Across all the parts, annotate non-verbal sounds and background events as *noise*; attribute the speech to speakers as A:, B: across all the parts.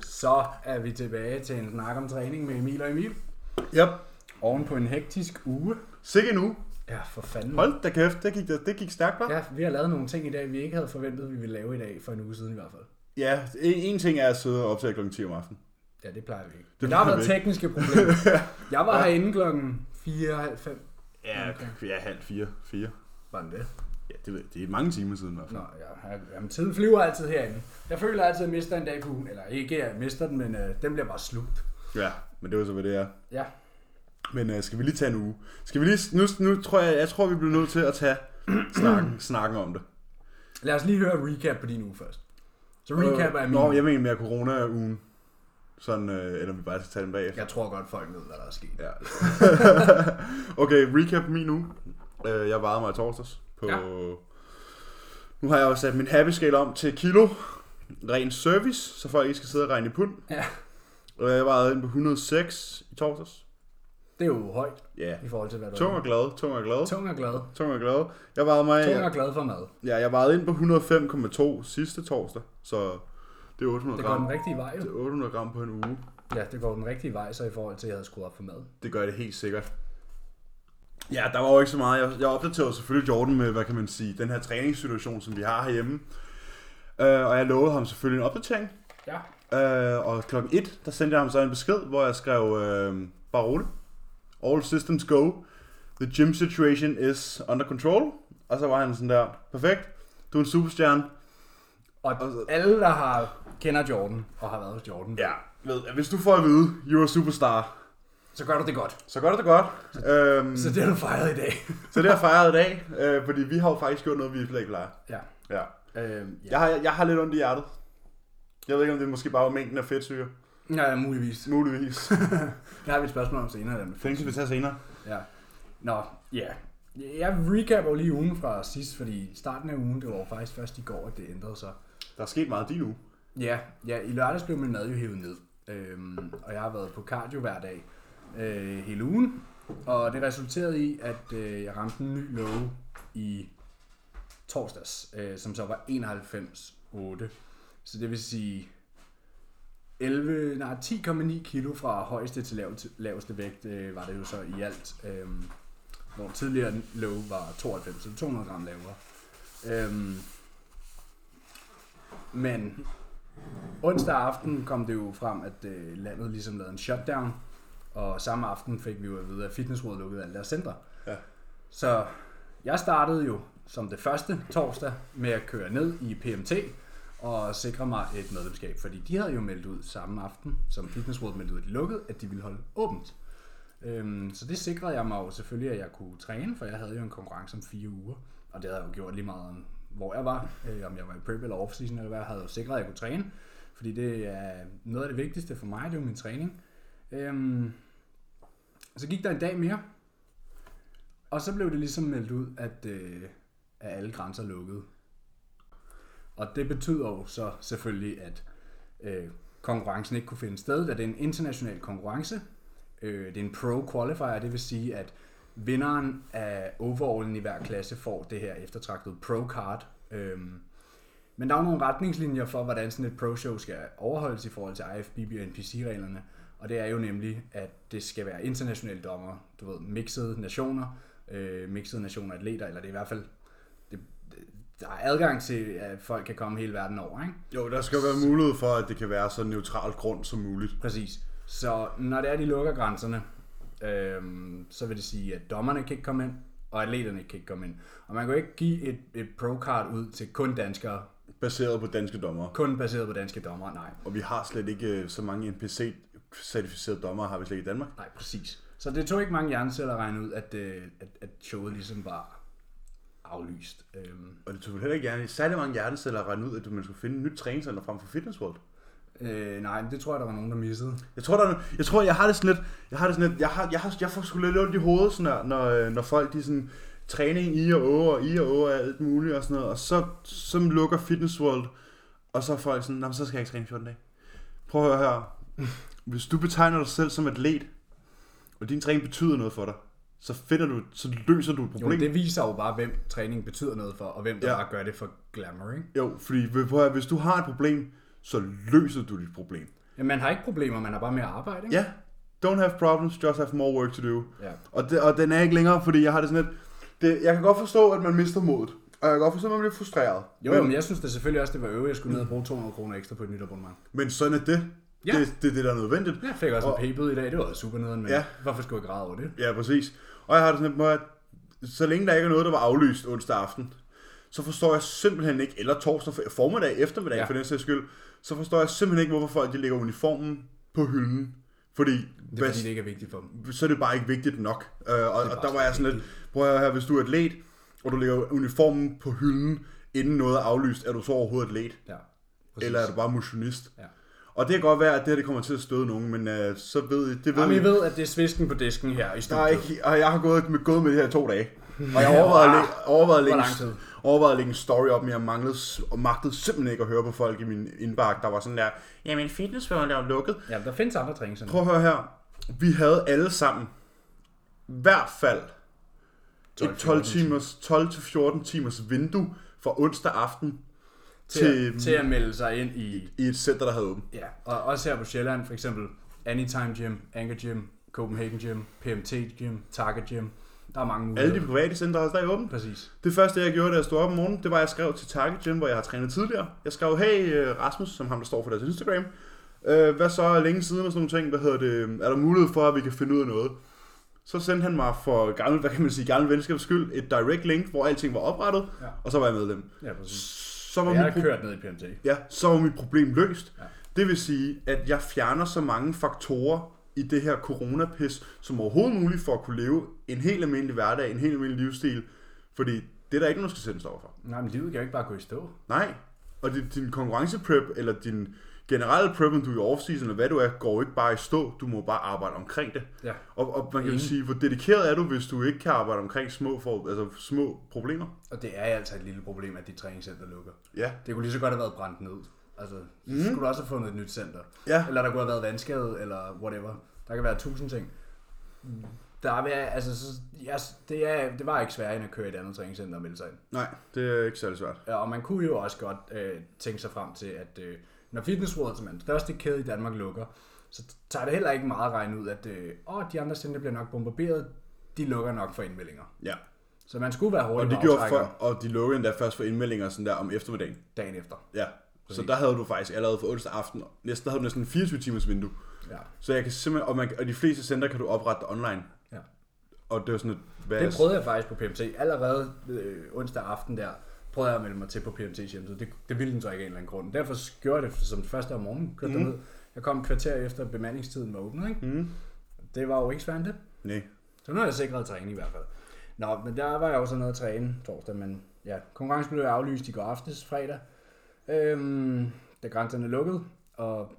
A: Så er vi tilbage til en snak om træning med Emil og Emil.
B: Ja,
A: Oven på en hektisk uge.
B: sikke nu.
A: Ja, for fanden.
B: Hold da kæft, det gik, det gik stærkt, hva'? Ja.
A: Ja, vi har lavet nogle ting i dag, vi ikke havde forventet, vi ville lave i dag, for en uge siden i hvert fald.
B: ja, en, en ting er at sidde og optage kl. 10 om aftenen.
A: Ja, det plejer vi ikke.
B: Det
A: Men der har
B: plejer
A: været
B: vi
A: tekniske problemer.
B: *laughs*
A: Jeg var herinde klokken 4.30.
B: Ja, okay. ja halv fire, fire.
A: Var den det?
B: Ja, det, ved jeg. det er mange timer siden i hvert fald.
A: Nå, ja, jamen, tiden flyver altid herinde. Jeg føler altid, at jeg mister en dag på ugen. Eller ikke, at jeg mister den, men øh, den bliver bare slugt.
B: Ja, men det var så, hvad det er.
A: Ja,
B: Men øh, skal vi lige tage en uge? Skal vi lige, nu, nu tror jeg, jeg tror, vi bliver nødt til at *clears throat* tage snakken, snakken om det.
A: lad os lige høre recap på din uge først. Så recap er min
B: Øh, Nå, jeg mener mere corona-ugen. Sådan, øh, eller vi bare skal tage den bagefter.
A: Jeg tror godt, folk ved, hvad der er sket.
B: Ja. *laughs* okay, recap min uge. Øh, Jeg vejede mig i torsdags på...
A: Ja.
B: Ja. Nu har jeg jo sat min happy scale om til kilo. Ren service, så folk ikke skal sidde og regne i pund.
A: Ja.
B: Og jeg vejede ind på 106 i torsdags.
A: Det er jo højt
B: Ja.
A: i forhold til, hvad der
B: Tung og glad, tung og glad.
A: Tung og glad.
B: Tung og glad. Jeg vejede mig...
A: Tung og glad for mad.
B: Ja, jeg vejede ind på 105,2 sidste torsdag. Så det er 800
A: Det går
B: gram.
A: den rigtige vej,
B: Det
A: jo.
B: er 800 gram på en uge.
A: Ja, det går den rigtige vej, så i forhold til, at jeg havde skruet op for mad.
B: Det gør det helt sikkert. Ja, der var jo ikke så meget. Jeg, jeg opdaterede selvfølgelig Jordan med, hvad kan man sige, den her træningssituation, som vi har herhjemme. Øh, og jeg lovede ham selvfølgelig en opdatering.
A: Ja.
B: Øh, og klokken 1, der sendte jeg ham så en besked, hvor jeg skrev, øh, bare rolig. All systems go. The gym situation is under control. Og så var han sådan der, perfekt. Du er en superstjerne.
A: Og
B: Altså-
A: alle, der har kender Jordan og har været hos Jordan,
B: Ja, ved, hvis du får at vide, you're a superstar,
A: så gør du det godt.
B: så gør du det *laughs* godt. Øhm,
A: Så
B: så,
A: det har du fejret i dag.
B: så det har jeg fejret i dag, øh, fordi vi har jo faktisk gjort noget, vi slet ikke plejer.
A: ja.
B: Ja.
A: Øhm, ja.
B: Jeg har, jeg har lidt ondt i hjertet. Jeg ved ikke, om det er måske bare mængden af fedtsyre.
A: ja. ja, muligvis.
B: Muligvis.
A: Det har vi et spørgsmål om senere. Der med
B: *laughs* Den kan vi tage senere.
A: Ja. Nå, ja. Jeg recapper jo lige ugen fra sidst, fordi starten af ugen, det var jo faktisk først i går, at det ændrede sig.
B: Der er sket meget din uge.
A: Ja, ja i lørdags blev min mad jo hævet ned, øhm, og jeg har været på cardio hver dag øh, hele ugen, og det resulterede i, at øh, jeg ramte en ny low i torsdags, øh, som så var 91,8. Så det vil sige 11, nej, 10,9 kilo fra højeste til laveste, laveste vægt øh, var det jo så i alt, øh, hvor tidligere low var 92, så 200 gram lavere. Øhm, men onsdag aften kom det jo frem, at øh, landet ligesom lavede en shutdown, og samme aften fik vi jo at vide, at fitnessrådet lukkede alle deres centre.
B: Ja.
A: Så jeg startede jo som det første torsdag med at køre ned i PMT og sikre mig et medlemskab, fordi de havde jo meldt ud samme aften, som fitnessrådet meldte ud, at de lukkede, at de ville holde åbent. Øhm, så det sikrede jeg mig jo selvfølgelig, at jeg kunne træne, for jeg havde jo en konkurrence om fire uger. Og det havde jeg jo gjort lige meget om, hvor jeg var. Øh, om jeg var i prep eller off-season eller hvad, jeg havde jo sikret, at jeg kunne træne. Fordi det er noget af det vigtigste for mig, det er jo min træning. Øhm, så gik der en dag mere. Og så blev det ligesom meldt ud, at, øh, at alle grænser lukkede. Og det betyder jo så selvfølgelig, at øh, konkurrencen ikke kunne finde sted, da det er en international konkurrence. Øh, det er en pro-qualifier, det vil sige, at vinderen af overallen i hver klasse får det her eftertragtede pro-card. Øhm, men der er jo nogle retningslinjer for, hvordan sådan et pro-show skal overholdes i forhold til IFBB og NPC-reglerne. Og det er jo nemlig, at det skal være internationale dommer, du ved, mixede nationer, øh, mixede nationer atleter, eller det er i hvert fald, det, det- der er adgang til, at folk kan komme hele verden over, ikke?
B: Jo, der skal jo være mulighed for, at det kan være så neutral grund som muligt.
A: Præcis. Så når det er, de lukker grænserne, øhm, så vil det sige, at dommerne kan ikke komme ind, og atleterne kan ikke komme ind. Og man kan jo ikke give et, et pro-card ud til kun danskere,
B: Baseret på danske dommer.
A: kun baseret på danske dommer. Nej,
B: Og vi har slet ikke øh, så mange NPC-certificerede dommer, har vi slet ikke i Danmark.
A: nej, præcis. Så det tog ikke mange hjerneceller at regne ud, at, øh, at, at showet ligesom var aflyst. Øhm,
B: Og det tog vel heller ikke gerne særlig mange hjerneceller at regne ud, at man skulle finde et nyt træningscenter frem for Fitness World.
A: øh, nej, men det tror jeg, der var nogen, der missede.
B: Jeg tror, der er, jeg tror, jeg har det sådan lidt, jeg har det sådan lidt, jeg, har, jeg, har, jeg får sgu lidt ondt i hovedet, sådan her, når, øh, når folk de sådan, træning i og å og i og å og alt muligt og sådan noget, og så, så lukker Fitness World, og så er folk sådan, "Nå, men så skal jeg ikke træne i 14 dage. Prøv at høre her. Hvis du betegner dig selv som atlet, og din træning betyder noget for dig, så finder du, så løser du et
A: Jo,
B: problem. Jo,
A: det viser jo bare, hvem træning betyder noget for, og hvem der ja.
B: Ja.
A: bare gør det for glamour, ikke?
B: jo fordi prøv at høre, hvis du har et problem, så løser du dit problem.
A: Jamen, man har ikke problemer, man har bare mere arbejde, ikke?
B: Ja, don't have problems, just have more work to do.
A: Ja.
B: Og, det, og den er ikke længere, fordi jeg har det sådan lidt... Det, jeg kan godt forstå, at man mister modet. Og jeg kan godt forstå, at man bliver frustreret.
A: Jo, jo, men jeg synes da selvfølgelig også, det var øvrigt, jeg skulle ned og bruge 200 kroner ekstra på et nyt abonnement.
B: Men sådan er det.
A: Ja.
B: Det, det er det, der er nødvendigt.
A: Jeg fik også
B: Og-
A: en p-bøde i dag, det var også super nederen, men
B: Ja.
A: ja. hvorfor skulle jeg græde over det?
B: Ja, præcis. Og jeg har det sådan lidt med, at så længe der ikke er noget, der var aflyst onsdag aften, så forstår jeg simpelthen ikke, eller torsdag formiddag, eftermiddag ja.
A: Ja.
B: for den sags skyld, så forstår jeg simpelthen ikke, hvorfor folk de lægger uniformen på hylden. Fordi,
A: Det er fordi, det ikke er vigtigt for dem.
B: så er det bare ikke vigtigt nok. Øh, og, og der
A: bare
B: var jeg sådan lidt, prøv at høre her, hvis du er atlet, og du lægger uniformen på hylden, inden noget er aflyst, er du så overhovedet atlet?
A: Ja, præcis.
B: Eller er du bare motionist?
A: Ja.
B: Og det kan godt være, at det her det kommer til at støde nogen, men øh, så ved I, det ved,
A: Jamen,
B: I.
A: I ved, at det er svisken på disken her i
B: Der er
A: studiet.
B: ikke, og jeg har gået med, gået med det her i to
A: *laughs*
B: dage. Og jeg overvejede, at læ- overvejede,
A: Hvor
B: at lægge,
A: lang tid?
B: overvejede at lægge en story op, men jeg manglede, s- og magtede simpelthen ikke at høre på folk i min indbakke, der var sådan der, jamen fitnessforhold er jo lukket.
A: Ja, der findes andre drinks. end-
B: Prøv at høre her. Vi havde alle sammen i hvert fald 12, 12 timers, 12 til 14 timers vindue fra onsdag aften
A: til,
B: til,
A: at, til at melde sig ind i...
B: i et center, der havde åbent.
A: Ja, og også her på Sjælland, for eksempel Anytime Gym, Anchor Gym, Copenhagen Gym, PMT Gym, Target Gym. Der er mange muligheder.
B: Alle de private center havde stadig åbent.
A: Præcis.
B: Det første, jeg gjorde, da jeg stod op om morgenen, det var, at jeg skrev til Target Gym, hvor jeg har trænet tidligere. Jeg skrev, hey øh, Rasmus, som ham, der står for deres Instagram. Øh, hvad så er længe siden og sådan nogle ting? Hvad hedder det? Er der mulighed for, at vi kan finde ud af noget? Så sendte han mig for gammel, hvad kan man sige, gammel venskabs skyld, et direct link, hvor alting var oprettet,
A: Ja.
B: og så var jeg medlem.
A: Ja, præcis.
B: Så var,
A: Jeg
B: mit
A: har
B: pro-
A: kørt ned i PMT.
B: ja, så var mit problem løst.
A: Ja.
B: Det vil sige, at jeg fjerner så mange faktorer i det her coronapis, som overhovedet muligt for at kunne leve en helt almindelig hverdag, en helt almindelig livsstil, fordi det er der ikke nogen, der skal sætte en stopper for.
A: Nej, men livet kan jo ikke bare gå i stå.
B: Nej, og din, din konkurrenceprep, eller din generelle prep, om du er i off eller hvad du er, går ikke bare i stå, du må bare arbejde omkring det.
A: Ja.
B: Og, og man kan jo
A: Enig.
B: sige, hvor dedikeret er du, hvis du ikke kan arbejde omkring små, for, altså små problemer?
A: Og det er altså et lille problem, at dit træningscenter lukker.
B: Ja.
A: Det kunne lige så godt have været brændt ned. Altså, mm. skulle du også have fundet et nyt center.
B: Mhm. Ja.
A: Eller der kunne have været vandskade, eller whatever. Der kan være tusind ting. Der er, altså, så, jeg, det, er, det var ikke sværere end at køre i et andet træningscenter og melde sig ind.
B: Nej, det er ikke særlig svært.
A: Ja, og man kunne jo også godt øh, tænke sig frem til, at øh, når Fitness World, som er den største kæde i Danmark, lukker, så tager det heller ikke meget regn ud, at øh, åh, de andre center bliver nok bombarderet, de lukker nok for indmeldinger.
B: Ja.
A: Så man skulle være
B: Og
A: hurtig
B: de,
A: på
B: gjorde for,
A: aftrækkeren
B: og de lukkede endda først for indmeldinger sådan der om eftermiddagen.
A: dagen efter.
B: Ja. Så der havde du faktisk allerede for onsdag aften, næsten, der havde du næsten 24 timers vindue.
A: Ja.
B: Så jeg kan simpelthen, og, man, og de fleste center kan du oprette dig online.
A: Ja.
B: Og det var sådan et, hvad
A: Det prøvede jeg faktisk på PMT. Allerede øh, onsdag aften der, prøvede jeg at melde mig til på PMT's hjemmeside. Det, det ville den så ikke af en eller anden grund. Derfor gjorde jeg det som det første om morgenen. Kørte mm. derned. Jeg kom et kvarter efter bemandingstiden var åbnet. Ikke? Mm. Det var jo ikke svært det.
B: Nej.
A: Så nu er jeg sikret at træne i hvert fald. Nå, men der var jeg også nede at træne torsdag, men ja, konkurrencen blev aflyst i går aftes, fredag. Øhm, da grænserne er lukket, og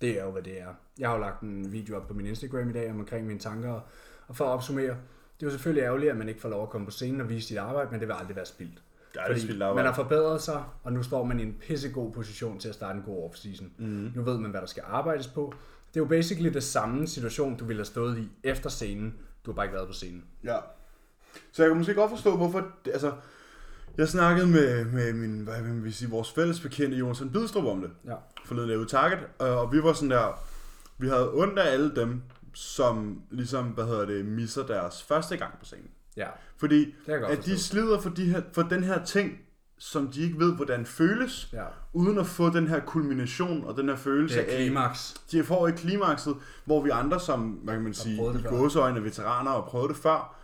A: det er jo, hvad det er. Jeg har jo lagt en video op på min Instagram i dag om- omkring mine tanker, og for at opsummere, det er jo selvfølgelig ærgerligt, at man ikke får lov at komme på scenen og vise sit arbejde, men det vil aldrig være spildt.
B: Det er aldrig
A: Fordi
B: spildt arbejde.
A: Man har forbedret sig, og nu står man i en pissegod position til at starte en god off-season.
B: Mhm.
A: Mm. Nu ved man, hvad der skal arbejdes på. Det er jo basically det samme situation, du ville have stået i efter scenen. Du har bare ikke været på scenen.
B: Ja. Så jeg kan måske godt forstå, hvorfor... Det, altså, jeg snakkede med, med min, hvad vil vi sige, vores fælles bekendte, Jonas Bidstrup, om det.
A: Ja.
B: Forleden lavede Target, og, og vi var sådan der... Vi havde ondt af alle dem, som ligesom, hvad hedder det, misser deres første gang på scenen.
A: Ja,
B: Fordi
A: kan jeg godt
B: at de
A: forstå.
B: slider for, de her, for den her ting, som de ikke ved, hvordan føles,
A: Ja.
B: uden at få den her kulmination og den her følelse
A: det er
B: af,
A: klimaks.
B: de får ikke klimakset, hvor vi andre, som hvad kan man sige,
A: prøvet det
B: i
A: før.
B: gåseøjne er veteraner og prøvet det før,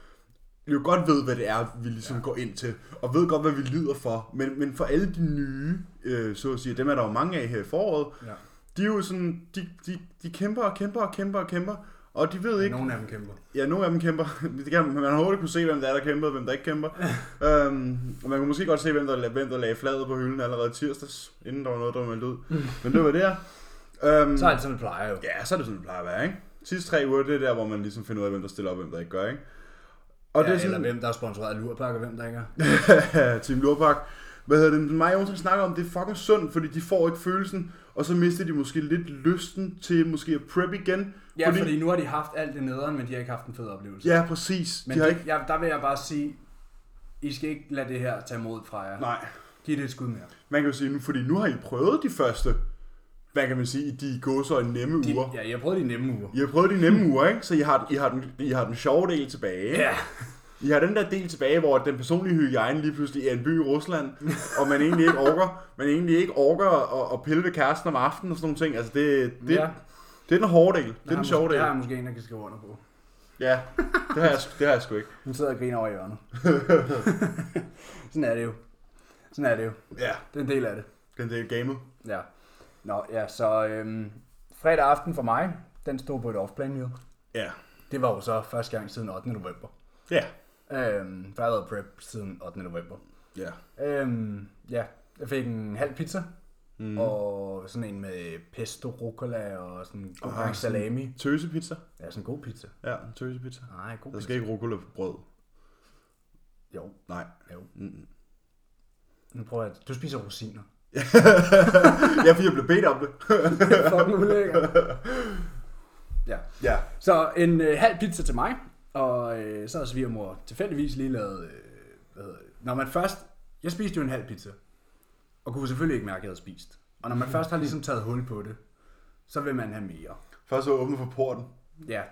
B: jo godt ved, hvad det er, vi ligesom ja. går ind til, og ved godt, hvad vi lider for. Men, men for alle de nye, øh, så at sige, dem er der jo mange af her i foråret,
A: Ja.
B: de er jo sådan, de, de, de kæmper og kæmper og kæmper og kæmper, og de ved ikke,
A: Nogle af dem kæmper.
B: Ja, nogle af dem kæmper. *laughs* Det kan, man har hurtigt kunne se, hvem der er, der kæmpede, og hvem der ikke
A: *laughs*
B: kæmper. øhm, og man kunne måske godt se, hvem der, hvem der lagde fladet på hylden allerede tirsdags, inden der var noget, der var meldt
A: *laughs*
B: ud. Men det var det her. Øhm,
A: Så er det, som det plejer jo.
B: ja, så er det sådan, det plejer at være, ikke? Sidste tre uger, det er der, hvor man ligesom finder ud af, hvem der stiller op, og hvem der ikke gør, ikke? Og
A: Ja,
B: det er
A: eller
B: sådan,
A: hvem, der er sponsoreret af Lurpak, og hvem der ikke er.
B: *laughs* Team Lurpak. Hvad hedder det? Mig og Jonsson snakker om, det er fucking sundt, fordi de får ikke følelsen, og så mister de måske lidt lysten til måske at prep igen.
A: Ja, fordi... fordi nu har de haft alt det nederen, men de har ikke haft en fed oplevelse.
B: Ja, præcis.
A: men
B: de har
A: det-
B: ikke...
A: ja, der vil jeg bare sige, I skal ikke lade det her tage mod fra jer.
B: Nej.
A: Giv det et skud mere.
B: Man kan jo sige, nu, fordi nu har I prøvet de første, hvad kan man sige, i de gåsøjne nemme
A: De,
B: uger.
A: ja, jeg prøvede de nemme uger.
B: I har prøvet de nemme uger, ikke? Så I har, I har, den, I har den sjove del tilbage.
A: Ja.
B: I har den der del tilbage, hvor den personlige hygiejne lige pludselig er en by i Rusland, og man egentlig ikke orker, man egentlig ikke orker at, at pille ved kæresten om aftenen og sådan nogle ting. Altså det, det,
A: Ja.
B: ja. det er den hårde del. Det
A: Der
B: er den sjove
A: måske-
B: del.
A: Der er måske en, der kan skrive under på.
B: Ja, det har jeg, sgu- det har jeg sgu ikke.
A: Hun sidder og griner over i
B: *laughs*
A: hjørnet. Sådan er det jo. Sådan er det jo.
B: Ja,
A: Det er en del af det.
B: den del gamet.
A: Ja. Nå, ja, så øhm, fredag aften for mig, den stod på et off-plan jo.
B: Ja.
A: Det var jo så første gang siden 8. november.
B: Ja.
A: Øhm, for jeg har været prep siden 8. november.
B: Ja.
A: Øhm, ja, jeg fik en halv pizza. Mm. Og sådan en med pesto, rucola og sådan en god
B: Ah,
A: gang salami.
B: Tøsepizza.
A: Ja, sådan en god pizza.
B: Ja, en tøsepizza.
A: Nej, god
B: Der
A: pizza.
B: skal ikke rucola på brød.
A: Jo,
B: Nej.
A: jo.
B: Mm.
A: Nu prøver jeg at... Du spiser rosiner. *laughs*
B: Ja, fordi jeg blev bedt om det.
A: Fucking
B: *laughs*
A: ulækkert. Ja.
B: Ja.
A: Så en øh, halv pizza til mig, og øh, så har svigermor tilfældigvis lige lavet... Øh, hvad hedder det? Når man først... Jeg spiste jo en halv pizza, og kunne selvfølgelig ikke mærke, at jeg havde spist. Og når man først har ligesom taget hul på det, så vil man have mere.
B: Først så åbnet for porten.
A: Ja,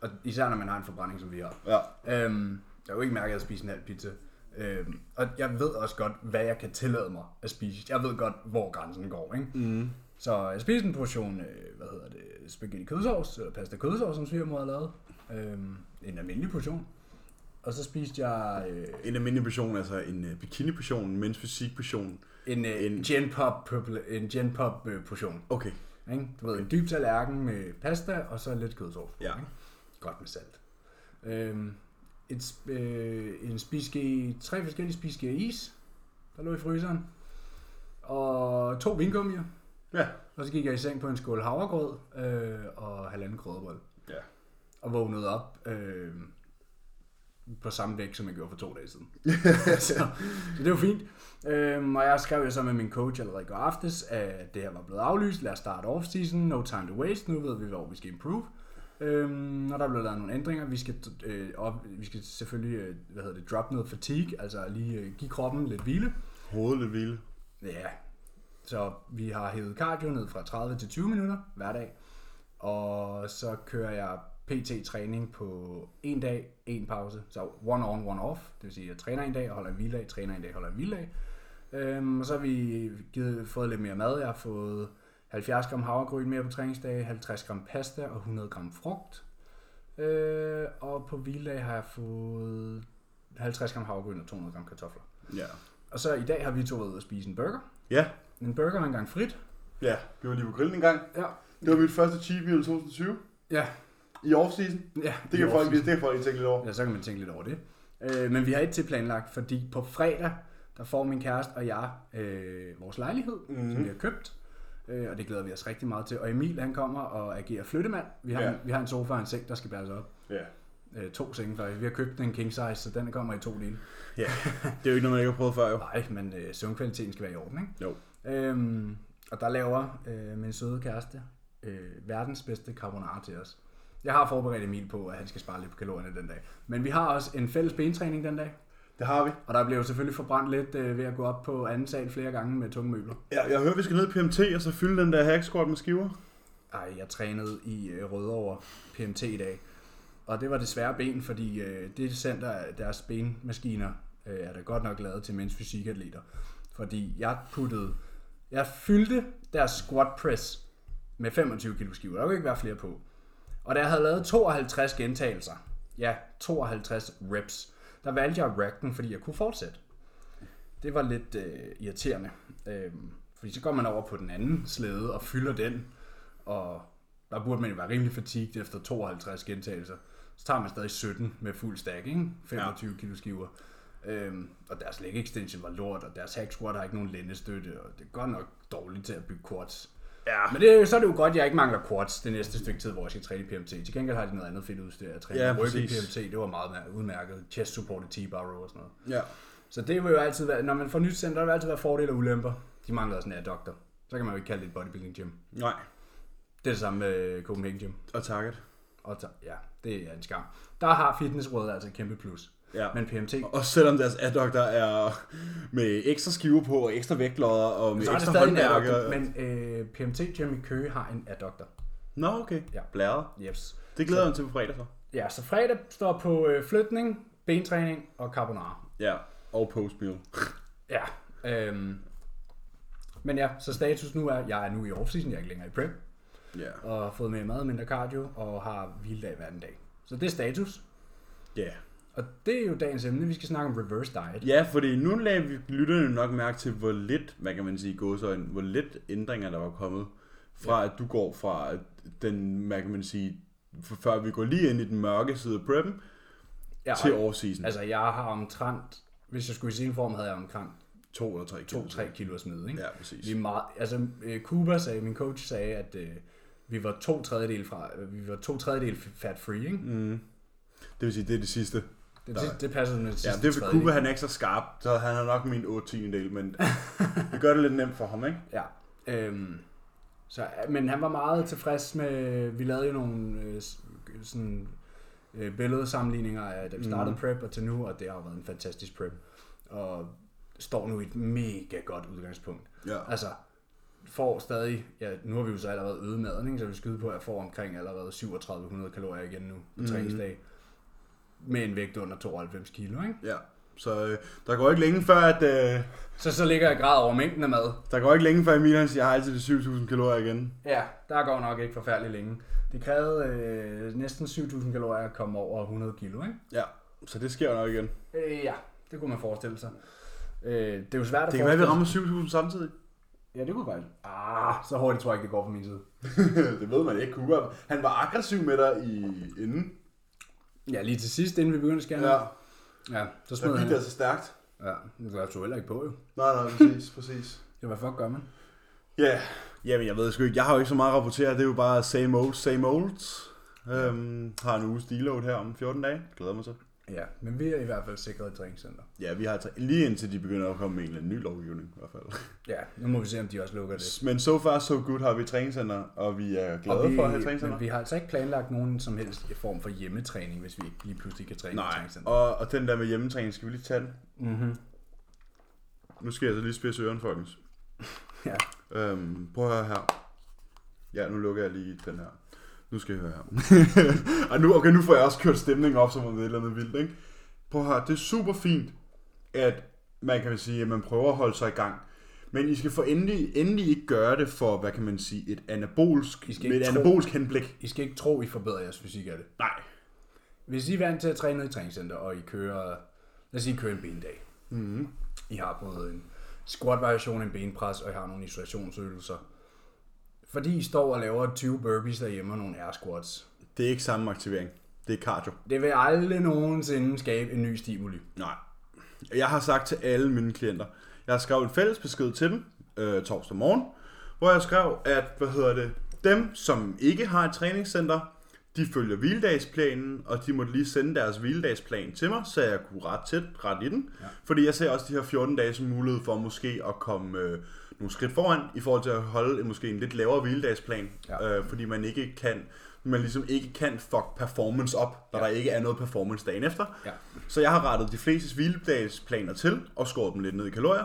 A: og især når man har en forbrænding, som vi har.
B: Ja.
A: Øhm, jeg har jo ikke mærket, at jeg spiser en halv pizza. Øhm, og jeg ved også godt, hvad jeg kan tillade mig at spise. Jeg ved godt, hvor grænsen går, ikke? Mm. Så jeg spiste en portion, øh, hvad hedder det, spaghetti kødsovs, eller pasta kødsovs, som svigermor havde lavet. Øhm, en almindelig portion. Og så spiste jeg øh,
B: En almindelig portion, altså en øh, bikini-portion, en mens fysik-portion.
A: en, øh, en,
B: En-
A: gen pop, purple- en gen pop øh, portion.
B: Okay.
A: Ikke? Du ved, en dyb tallerken med pasta, og så lidt kødsovs. på,
B: Ja.
A: ikke? Godt med salt. Øhm, et, sp- øh, en spiske, tre forskellige spiske is, der lå i fryseren. Og to vingummier.
B: Ja.
A: Og så gik jeg i seng på en skål havregrød øh, og halvanden krødderbold.
B: Ja.
A: Og vågnede op øh, på samme vægt, som jeg gjorde for to dage siden. så, så det var fint. Øhm, og jeg skrev jo så med min coach allerede i går aftes, at det her var blevet aflyst. Lad os starte off-season. No time to waste. Nu ved vi, hvor vi skal improve. Øhm, og der blev lavet nogle ændringer. Vi skal, øh, op, vi skal selvfølgelig øh, hvad hedder det, drop noget fatigue, altså lige øh, give kroppen lidt hvile.
B: Hovedet lidt vilde.
A: Ja, så vi har hævet cardio ned fra 30 til 20 minutter hver dag. Og så kører jeg PT-træning på en dag, en pause. Så one on, one off. Det vil sige, at jeg træner en dag og holder en hviledag, træner en dag og holder en hviledag. Øhm, og så har vi givet, fået lidt mere mad. Jeg har fået 70 gram havregryn mere på træningsdage, 50 gram pasta og 100 gram frugt. Øh, og på hviledag har jeg fået 50 gram havregryn og 200 gram kartofler.
B: Ja.
A: Og så i dag har vi to været ude og spise en burger.
B: Ja.
A: En burger og en gang frit.
B: Ja. Vi var lige på grillen en gang.
A: Ja.
B: Det var mit første cheat meal i 2020.
A: Ja.
B: I off-season.
A: ja.
B: Det kan, folk, det kan folk lige tænke lidt over.
A: Ja, så kan man tænke lidt over det. Øh, men vi har ikke til planlagt, fordi på fredag, der får min kæreste og jeg øh, vores lejlighed, mm.
B: Mhm.
A: som vi har købt. Øh, og det glæder vi os rigtig meget til. Og Emil, han kommer og agerer flyttemand. Vi har,
B: Ja.
A: en, vi har en sofa og en seng, der skal bæres op.
B: Ja.
A: Øh, to senge faktisk. Vi har købt en king size, så den kommer i to dele.
B: Ja. Det er jo ikke noget, man ikke har prøvet før, jo.
A: Nej, men øh, søvnkvaliteten skal være i orden, ikke?
B: Jo.
A: Øhm, og der laver øh, min søde kæreste øh, verdens bedste carbonara til os. Jeg har forberedt Emil på, at han skal spare lidt på kalorierne den dag. Men vi har også en fælles bentræning den dag.
B: Det har vi.
A: Og der blev selvfølgelig forbrændt lidt øh, ved at gå op på anden sal flere gange med tunge møbler.
B: Ja, jeg hører, vi skal ned i PMT og så fylde den der hack squat med skiver.
A: Ej, jeg trænede i øh, Rødovre PMT i dag. Og det var desværre ben, fordi øh, det center, deres benmaskiner, øh, er da godt nok lavet til mænds fysikatleter. Fordi jeg puttede, jeg fyldte deres squat press med 25 kilo skiver. Der kunne ikke være flere på. Og da jeg havde lavet 52 gentagelser, ja, 52 reps, der valgte jeg at rack den, fordi jeg kunne fortsætte. Det var lidt øh, irriterende. Øhm, fordi så går man over på den anden slæde og fylder den. Og der burde man jo være rimelig fatigt efter 52 gentagelser. Så tager man stadig 17 med fuld stack, ikke? 25 ja. kilo skiver. Øhm, og deres leg extension var lort, og deres hack squat har ikke nogen lændestøtte, og det er godt nok dårligt til at bygge quads.
B: Ja.
A: Men det, er jo- så er det jo godt, at jeg ikke mangler quads det næste stykke tid, hvor jeg skal træne i PMT. Til gengæld har de noget andet fedt udstyr. Jeg træner
B: Ja,
A: ja, ryg i
B: præcis.
A: PMT, det var meget mær- udmærket. Chest supported T-bar row og sådan noget.
B: Ja.
A: Så det vil jo altid være, når man får nyt center, der vil altid være fordele og ulemper. De mangler også en doktor. Så kan man jo ikke kalde det et bodybuilding gym.
B: Nej.
A: Det er det samme med Copenhagen Gym.
B: Og takket.
A: Og så, ja, det er en skam. Der har Fitnessrådet altså et kæmpe plus.
B: Ja.
A: Men PMT,
B: Og selvom deres adductor er med ekstra skiver på, og ekstra vægtlodder, og med
A: så er det
B: ekstra
A: stadig en
B: håndmærker.
A: adductor, men øh, PMT Jimmy Køge har en adductor.
B: Nå, okay.
A: Ja.
B: Blæret.
A: Yes.
B: Det glæder jeg mig til på fredag så.
A: Ja, så fredag står på øh, flytning, bentræning og carbonara.
B: Ja, og postmeal.
A: Ja. Øhm. Men ja, så status nu er, jeg er nu i off-season, jeg er ikke længere i prep,
B: Ja.
A: og har fået med meget mindre cardio, og har hviledag hver anden dag. Så det er status.
B: Ja.
A: Og det er jo dagens emne, vi skal snakke om reverse diet.
B: Ja, fordi nu lagde vi lytterne nok mærke til, hvor lidt, hvad kan man sige, gåsøjne, hvor lidt ændringer, der var kommet, fra at du går fra den, hvad kan man sige, f- før vi går lige ind i den mørke side af preppen,
A: Ja,
B: til
A: og-
B: off-season. Altså,
A: Altså, jeg har omtrent, hvis jeg skulle i sin form, havde jeg omkring
B: to eller tre kilo.
A: 2-3 kilo at smide, ikke?
B: Ja, præcis.
A: Vi er meget, altså, øh, Cooper sagde, min coach sagde, at øh, vi var to tredjedel fra, øh, vi var to tredjedel fat free, ikke? Mm.
B: Det vil sige, det er det sidste.
A: Det,
B: Der-
A: det, det passer med
B: Ja,
A: sidste
B: det er fordi
A: tredjedel.
B: Cooper, han er ikke så skarp, så han har nok min 8 tiendel, *laughs* men det gør det lidt nemt for ham, ikke?
A: Ja. Øhm, så, men han var meget tilfreds med, vi lavede jo nogle øh, s- sådan, øh, billedsammenligninger af, da vi startede mm. prep og til nu, og det har været en fantastisk prep. Og står nu i et mega godt udgangspunkt.
B: Ja.
A: Altså, får stadig, ja, nu har vi jo så allerede øget maden, ikke? så vi skyder på, at jeg får omkring allerede 3700 kalorier igen nu på
B: Mhm.
A: mm. træningsdag. Med en vægt under 92 kilo, ikke?
B: Ja. Så øh, der går ikke længe før, at... Øh,
A: Så så ligger jeg grad over mængden af mad.
B: der går ikke længe før Emil, han siger, jeg har altid de 7000 kalorier igen.
A: Ja, der går nok ikke forfærdelig længe. Det krævede øh, næsten 7.000 kalorier at komme over 100 kilo, ikke?
B: Ja, så det sker jo nok igen.
A: Øh, ja, det kunne man forestille sig. Øh, det er jo svært at
B: Det kan være,
A: forestille
B: at vi rammer 7000 samtidig.
A: Ja, det kunne godt. Ah, så hurtigt tror jeg ikke, det går fra min side.
B: *laughs* det ved man ikke. Cooper, han var aggressiv med dig i inden.
A: Ja, lige til sidst, inden vi begyndte at skære.
B: Ja,
A: ja så
B: så
A: smed han.
B: gik det altså stærkt.
A: Ja, det var jeg tog heller ikke på, jo.
B: Nej, nej, præcis, præcis.
A: Ja, hvad fuck gør man?
B: Ja, jamen jeg ved sgu ikke. Jeg har jo ikke så meget at rapportere. Det er jo bare same old, same old. Øhm, har en uge deload her om 14 dage. Glæder mig så.
A: Ja, men vi er i hvert fald sikret et træningscenter.
B: Ja, vi har tre- lige indtil de begynder at komme med en eller anden ny lovgivning i hvert fald.
A: Ja, nu må vi se, om de også lukker det.
B: Men so far so good har vi træningscenter, og vi er glade
A: Og vi,
B: for at have træningscenter.
A: men vi har altså ikke planlagt nogen som helst form for hjemmetræning, hvis vi ikke lige pludselig kan træne i
B: Nej,
A: træningscenter.
B: og, og den der med hjemmetræning, skal vi lige tage den?
A: Mm-hmm.
B: Nu skal jeg altså lige spidse øren, folkens.
A: Ja.
B: Øhm, prøv at høre her. Ja, nu lukker jeg lige den her. Nu skal jeg høre her. *laughs* og nu, okay, nu får jeg også kørt stemningen op, som om det er et eller andet vildt, ikke? Prøv at høre, det er super fint, at man kan sige, at man prøver at holde sig i gang. Men I skal for endelig, endelig ikke gøre det for, hvad kan man sige, et anabolsk,
A: I skal
B: med
A: ikke
B: et
A: tro-
B: anabolsk henblik.
A: I skal ikke tro, I forbedrer jeres fysik af det.
B: Nej.
A: Hvis I er vant til at træne ned i træningscenter, og I kører, lad os sige, I kører en bendag. Mhm.
B: Mm-hmm.
A: I har både en squat-variation, en benpres, og I har nogle isolationsøvelser. Fordi I står og laver 20 burpees derhjemme og nogle air squats.
B: Det er ikke samme aktivering. Det er cardio.
A: Det vil aldrig nogensinde skabe en ny stimuli.
B: Nej. Jeg har sagt til alle mine klienter, jeg har skrevet en fælles besked til dem øh, torsdag morgen, hvor jeg skrev, at hvad hedder det, dem, som ikke har et træningscenter, de følger hviledagsplanen, og de måtte lige sende deres hviledagsplan til mig, så jeg kunne ret tæt, ret i den. Ja. Fordi jeg ser også de her 14 dage som mulighed for måske at komme øh, nogle skridt foran, i forhold til at holde en, måske en lidt lavere hviledagsplan,
A: Ja.
B: ja. øh, fordi man ikke kan man ligesom ikke kan fuck performance op, når ja. der ikke er noget performance dagen efter.
A: Ja.
B: Så jeg har rettet de fleste hviledagsplaner til og skåret dem lidt ned i kalorier.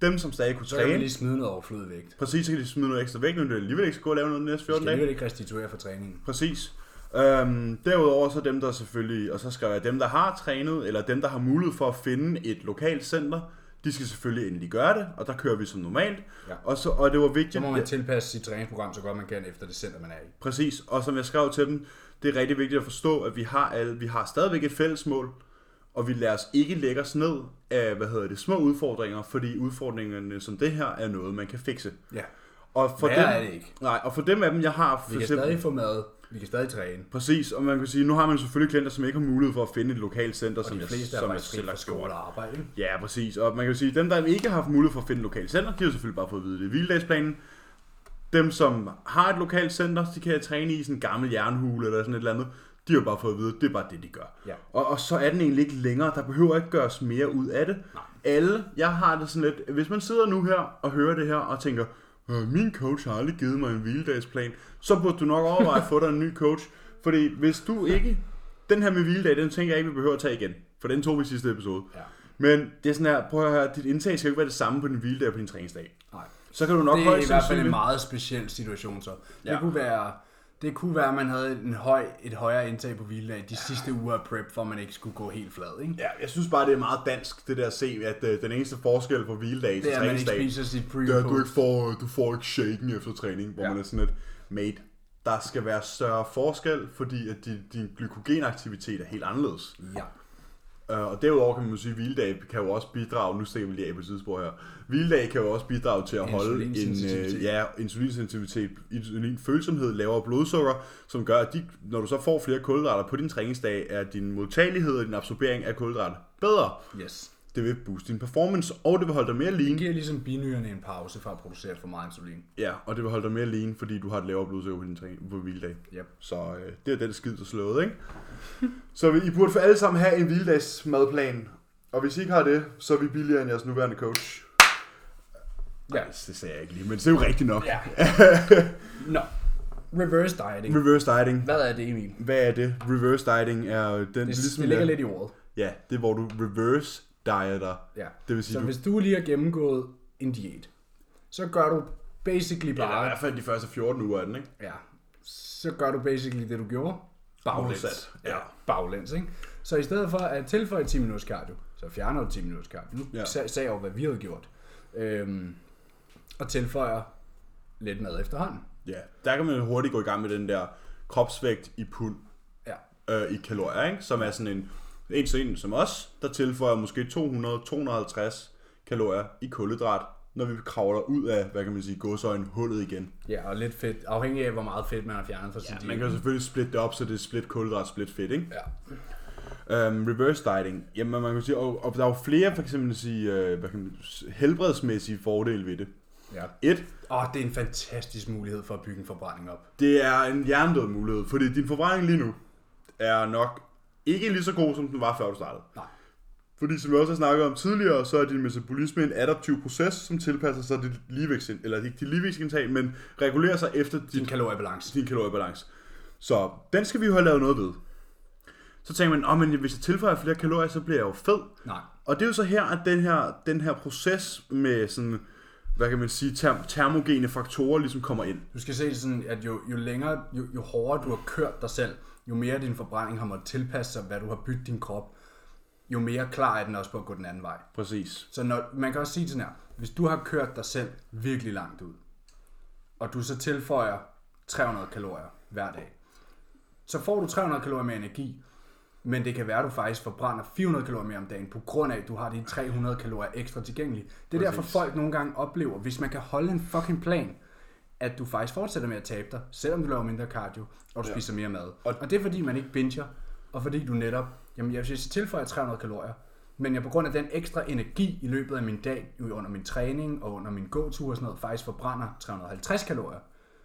B: Dem, som stadig kunne
A: Så kan man
B: træne,
A: lige smide noget overflødig vægt.
B: præcis, så kan de smide noget ekstra væk, når de alligevel ikke skal gå og lave noget de næste
A: Det
B: 14
A: skal
B: dage.
A: alligevel ikke restituere for træningen.
B: Præcis. Øhm, derudover så dem, der selvfølgelig, og så skrev jeg, dem, der har trænet, eller dem, der har mulighed for at finde et lokalt center, de skal selvfølgelig endelig gøre det, og der kører vi som normalt.
A: Ja.
B: Og, så, og det var
A: Så
B: vigtigt,
A: må man tilpasse sit træningsprogram så godt man kan efter det center, man er i.
B: Præcis, og som jeg skrev til dem, det er rigtig vigtigt at forstå, at vi har, alle, vi har stadigvæk et fælles mål, og vi lader os ikke lægge os ned af, hvad hedder det, små udfordringer, fordi udfordringerne som det her er noget, man kan fikse.
A: Ja.
B: Og for
A: Værre
B: dem,
A: er det ikke.
B: Nej, og for dem af dem, jeg har...
A: Vi kan stadig få mad, vi kan stadig træne.
B: Præcis, og man kan sige, nu har man selvfølgelig klienter, som ikke har mulighed for at finde et lokalt center,
A: Og
B: som
A: de
B: jeg,
A: fleste er
B: som jeg
A: faktisk fri
B: selv
A: fra
B: har
A: skole
B: skåret.
A: og arbejde. ikke?
B: Ja, præcis. Og man kan jo sige, dem, der ikke har haft mulighed for at finde et lokalt center, de har selvfølgelig bare fået at vide det i hviledagsplanen. Dem, som har et lokalt center, de kan træne i sådan en gammel jernhule eller sådan et eller andet. De har jo bare fået at vide, at det er bare det, de gør.
A: Ja.
B: Og, og så er den egentlig ikke længere. Der behøver ikke gøres mere ud af det.
A: Nej.
B: Alle, jeg har det sådan lidt, hvis man sidder nu her og hører det her og tænker, "Øh, min coach har aldrig givet mig en hviledagsplan, så burde du nok overveje at få dig en ny coach. Fordi hvis du ikke, den her med hviledag, den tænker jeg ikke, vi behøver at tage igen. For den tog vi i sidste episode.
A: Ja.
B: Men det er sådan her, prøv at høre, dit indtag skal jo ikke være det samme på din hviledag og på din træningsdag.
A: Nej.
B: Så kan du nok
A: Det er
B: højst
A: i hvert fald en
B: sandsynligt-
A: meget speciel situation så. Det
B: Ja.
A: kunne være, det kunne være, at man havde en høj, et højere indtag på hviledag de sidste uger af prep, for at man ikke skulle gå helt flad, ikke?
B: Ja, jeg synes bare, det er meget dansk, det der at se, at øh, den eneste forskel på hviledag til
A: Det er, at man ikke
B: træningsdag,
A: spiser sit pre
B: det er, at du ikke får, øh, du får ikke shaken efter træning, hvor
A: Ja.
B: ja. man er sådan lidt, mate, der skal være større forskel, fordi at din, din glykogenaktivitet er helt anderledes.
A: Ja.
B: Øh, og derudover kan man jo sige, at hviledag kan jo også bidrage, nu stikker vi lige af på et sidespor her, hviledag kan jo også bidrage til at holde en
A: Insulinsensitivitet.
B: øh, ja, insulinsensitivitet, insulinfølsomhed, lavere blodsukker, som gør, at de, når du så får flere kulhydrater på din træningsdag, er din modtagelighed og din absorbering af kulhydrater bedre.
A: Yes.
B: Det vil booste din performance, og det vil holde dig mere
A: Det
B: lean.
A: giver ligesom binyrerne en pause for at producere for meget insulin.
B: Ja, og det vil holde dig mere lean, fordi du har et lavere blodsukker på din træning på hviledag.
A: Yep.
B: Så øh, det er den skid, der slået, ikke? *laughs* så vi- I burde for alle sammen have en hviledags madplan. Og hvis I ikke har det, så er vi billigere end jeres nuværende coach.
A: Ja.
B: Ej, det sagde jeg ikke lige, men det er jo rigtigt nok.
A: Ja. *laughs* Nå. Reverse dieting.
B: Reverse dieting.
A: Hvad er det, Emil?
B: Hvad er det? Reverse dieting er jo den... ligesom-
A: Det, det ligger lidt i ordet.
B: Ja, det er, hvor du reverse dieter.
A: Ja.
B: Det vil sige,
A: Så
B: du...
A: hvis du lige har gennemgået en diæt, så gør du basically
B: Eller i
A: bare...
B: hvert fald de første 14 uger af den, ikke?
A: Ja. Så gør du basically det, du gjorde. Baglæns.
B: Modsat, ja.
A: Baglæns, ikke? Så i stedet for at tilføje 10 minutters cardio, så fjerner du 10 minutters cardio. Nu
B: Ja.
A: ja. sagde jeg jo, hvad vi havde gjort. Øhm, og tilføjer lidt mad efterhånden.
B: Ja, der kan man hurtigt gå i gang med den der kropsvægt i pund
A: Ja.
B: øh, i kalorier, ikke? som er sådan en en til en som os, der tilføjer måske 200-250 kalorier i kulhydrat, når vi kravler ud af, hvad kan man sige, godsøjen hullet igen.
A: Ja, og lidt fedt. Afhængig af, hvor meget fedt man har fjernet fra sin
B: Ja,
A: diæt.
B: man kan jo selvfølgelig splitte det op, så det er split kulhydrat, split fedt, ikke?
A: Ja.
B: Øhm, reverse dieting, jamen man kan sige, og, og der er jo flere, for eksempel at sige, øh, hvad kan man, helbredsmæssige fordele ved det.
A: ja.
B: Et,
A: Og det er en fantastisk mulighed for at bygge en forbrænding op.
B: Det er en hjernedød mulighed, fordi din forbrænding lige nu er nok ikke lige så god, som den var, før du startede.
A: Nej.
B: Fordi som vi også har snakket om tidligere, så er din metabolisme en adaptiv proces, som tilpasser sig dit ligevægtsindtag, eller ikke dit ligevægtsindtag, men regulerer sig efter din,
A: En kaloriebalance.
B: din kaloriebalance. Så den skal vi jo have lavet noget ved. Så tænker man, oh, men hvis jeg tilføjer flere kalorier, så bliver jeg jo fed.
A: Nej.
B: Og det er jo så her, at den her, den her proces med sådan, hvad kan man sige, term- termogene faktorer ligesom kommer ind.
A: Du skal se sådan, at jo, jo længere, jo, jo hårdere du har kørt dig selv, jo mere din forbrænding har måttet tilpasse sig, hvad du har bygget din krop, jo mere klar er den også på at gå den anden vej.
B: Præcis.
A: Så når, man kan også sige sådan her, hvis du har kørt dig selv virkelig langt ud, og du så tilføjer 300 kalorier hver dag, så får du 300 kalorier mere energi, men det kan være, at du faktisk forbrænder 400 kalorier mere om dagen, på grund af, at du har de 300 kalorier ekstra tilgængelige. Det er Præcis. derfor, folk nogle gange oplever, hvis man kan holde en fucking plan, at du faktisk fortsætter med at tabe dig, selvom du laver mindre cardio, og du ja. spiser mere mad. Og, og det er fordi, man ikke binger, og fordi du netop, jamen jeg vil sige, tilføjer 300 kalorier, men jeg på grund af den ekstra energi i løbet af min dag, under min træning og under min gåtur og sådan noget, faktisk forbrænder 350 kalorier,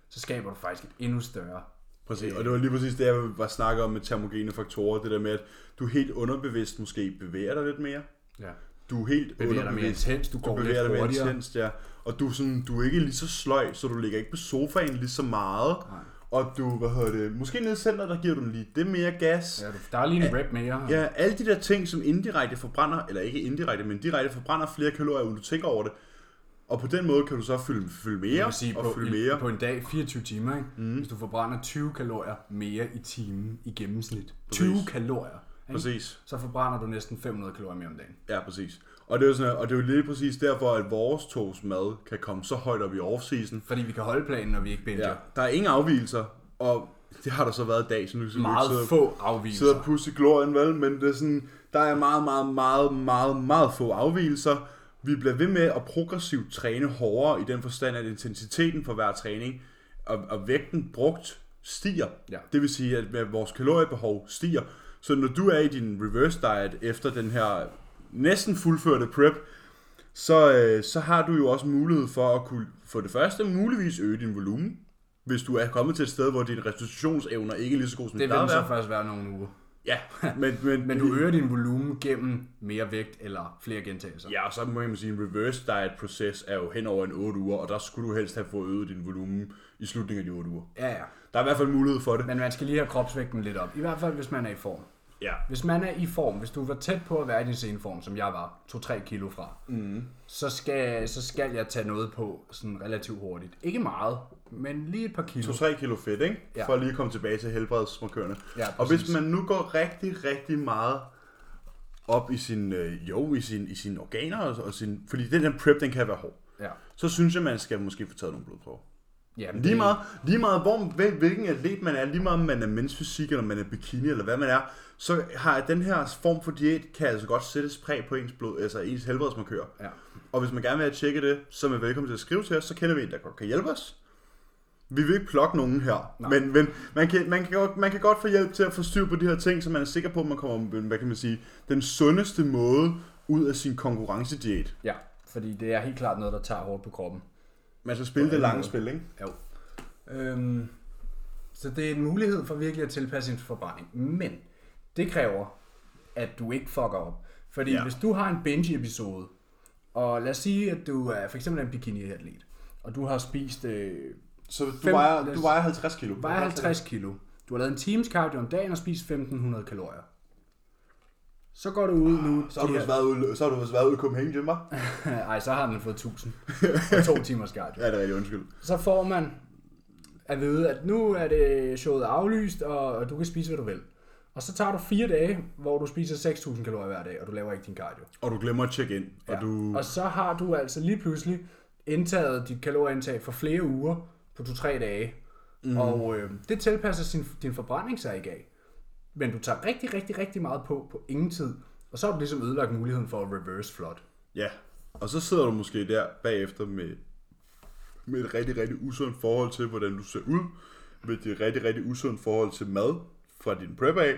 A: så skaber du faktisk et endnu større
B: Præcis,
A: Øh.
B: og det var lige præcis det, jeg var snakket om med termogene faktorer, det der med, at du helt underbevidst måske bevæger dig lidt mere.
A: ja.
B: Du er helt
A: Bevæger dig mere
B: underbevidst.
A: intenst, du går
B: du bevæger
A: lidt
B: dig mere
A: hurtigere.
B: intenst, ja. Og du er, sådan, du er ikke lige så sløj, så du ligger ikke på sofaen lige så meget. Nej. Og du, hvad hedder det, måske nede i centret, der giver du lige det mere gas.
A: Ja, du- der er lige en rep mere.
B: Ja. ja, alle de der ting, som indirekte forbrænder, eller ikke indirekte, men direkte forbrænder flere kalorier, uden du tænker over det. Og på den måde kan du så fylde, fylde
A: Jeg
B: mere
A: vil sige,
B: og
A: på,
B: fylde
A: i,
B: mere.
A: på en dag, 24 timer, ikke? Mm. hvis du forbrænder 20 kalorier mere i timen i gennemsnit. 20 kalorier. Ikke?
B: Præcis.
A: Så forbrænder du næsten 500 kalorier mere om dagen.
B: Ja, præcis. Og det er jo, sådan, og det er jo lige præcis derfor, at vores tos mad kan komme så højt op i off-season.
A: Fordi vi kan holde planen, når vi ikke binder.
B: Ja.
A: Ja.
B: Der er ingen afvielser, og det har der så været i dag, så nu skal
A: Meget
B: vi ikke sidde,
A: få afvielser.
B: sidde og pusse i glorien, vel? Men det er sådan, der er meget, meget, meget, meget, meget få afvielser. Vi bliver ved med at progressivt træne hårdere i den forstand, at intensiteten for hver træning og, og vægten brugt stiger.
A: Ja.
B: Det vil sige, at med vores kaloriebehov stiger. Så når du er i din reverse diet efter den her næsten fuldførte prep, så, øh, så har du jo også mulighed for at kunne for det første muligvis øge din volumen, hvis du er kommet til et sted, hvor dine restitutionsevner ikke er lige så gode som de
A: Det vil
B: plejer
A: den
B: at
A: så
B: være.
A: først være nogle uger.
B: Ja, *laughs* men, men,
A: Men du øger din volumen gennem mere vægt eller flere gentagelser.
B: Ja, og så må man sige, en reverse diet proces er jo hen over en 8 uger, og der skulle du helst have fået øget din volumen i slutningen af de 8 uger.
A: ja, ja.
B: Der er i hvert fald mulighed for det.
A: Men man skal lige have kropsvægten lidt op. I hvert fald, hvis man er i form.
B: Ja.
A: Hvis man er i form, hvis du var tæt på at være i din seneform, som jeg var, 2-3 kilo fra,
B: Mm.
A: så skal, så skal jeg tage noget på sådan relativt hurtigt. Ikke meget, men lige et par kilo.
B: 2-3 kilo fedt, ikke?
A: Ja.
B: Ja. For at lige at komme tilbage til helbredsmarkørerne.
A: Ja,
B: og
A: præcis.
B: hvis man nu går rigtig, rigtig meget op i sin, øh, jo, i sin, i sine organer, og, og sin, fordi den her prep, den kan være hård,
A: Ja.
B: så synes jeg, man skal måske få taget nogle blodprøver.
A: Ja,
B: Lige meget, lige meget hvor, hvil- hvilken atlet man er, lige meget om man er mensfysik, eller man er bikini, eller hvad man er, så har den her form for diæt, kan altså godt sættes præg på ens, blod, altså ens helbredsmarkører.
A: Ja.
B: Og hvis man gerne vil have tjekket det, så er man velkommen til at skrive til os, så kender vi en, der godt kan hjælpe os. Vi vil ikke plukke nogen her,
A: Nej.
B: men, men man, kan, man, kan godt, man kan godt få hjælp til at få styr på de her ting, så man er sikker på, at man kommer, hvad kan man sige, den sundeste måde ud af sin konkurrencediæt.
A: Ja, fordi det er helt klart noget, der tager hårdt på kroppen.
B: Man skal spille det lange spil, ikke?
A: Jo. Øhm, så det er en mulighed for virkelig at tilpasse sin forbrænding. Men det kræver, at du ikke fucker op. Fordi ja.
B: Ja.
A: hvis du har en binge-episode, og lad os sige, at du er for eksempel en bikini-atlet, og du har spist øh,
B: Så du,
A: Fem-
B: vejer, du vejer 50 kilo.
A: vejer 50 kilo, du har lavet en times cardio om dagen og spist 1500 kalorier, så går du ud nu...
B: Så har du
A: de
B: vist været ude, så har du vist været ude i Copenhagen, Jim, hva'?
A: her- *laughs* Ej, så har den fået 1000 og to timers cardio.
B: Ja, det er rigtig undskyld.
A: så får man at vide, at nu er det showet aflyst, og du kan spise, hvad du vil. Og så tager du fire dage, hvor du spiser 6.000 kalorier hver dag, og du laver ikke din cardio.
B: Og du glemmer at tjekke ind, og du...
A: Og så har du altså lige pludselig indtaget dit kalorieindtag for flere uger på 2-3 dage. Mm. Og øh, det tilpasser sin, din forbrænding sig ikke af. Men du tager rigtig, rigtig, rigtig meget på på ingen tid. Og så har du ligesom ødelagt muligheden for at reverse flot.
B: Ja, og så sidder du måske der bagefter med, med et rigtig, rigtig usundt forhold til, hvordan du ser ud, med et rigtig, rigtig usundt forhold til mad fra din prep af,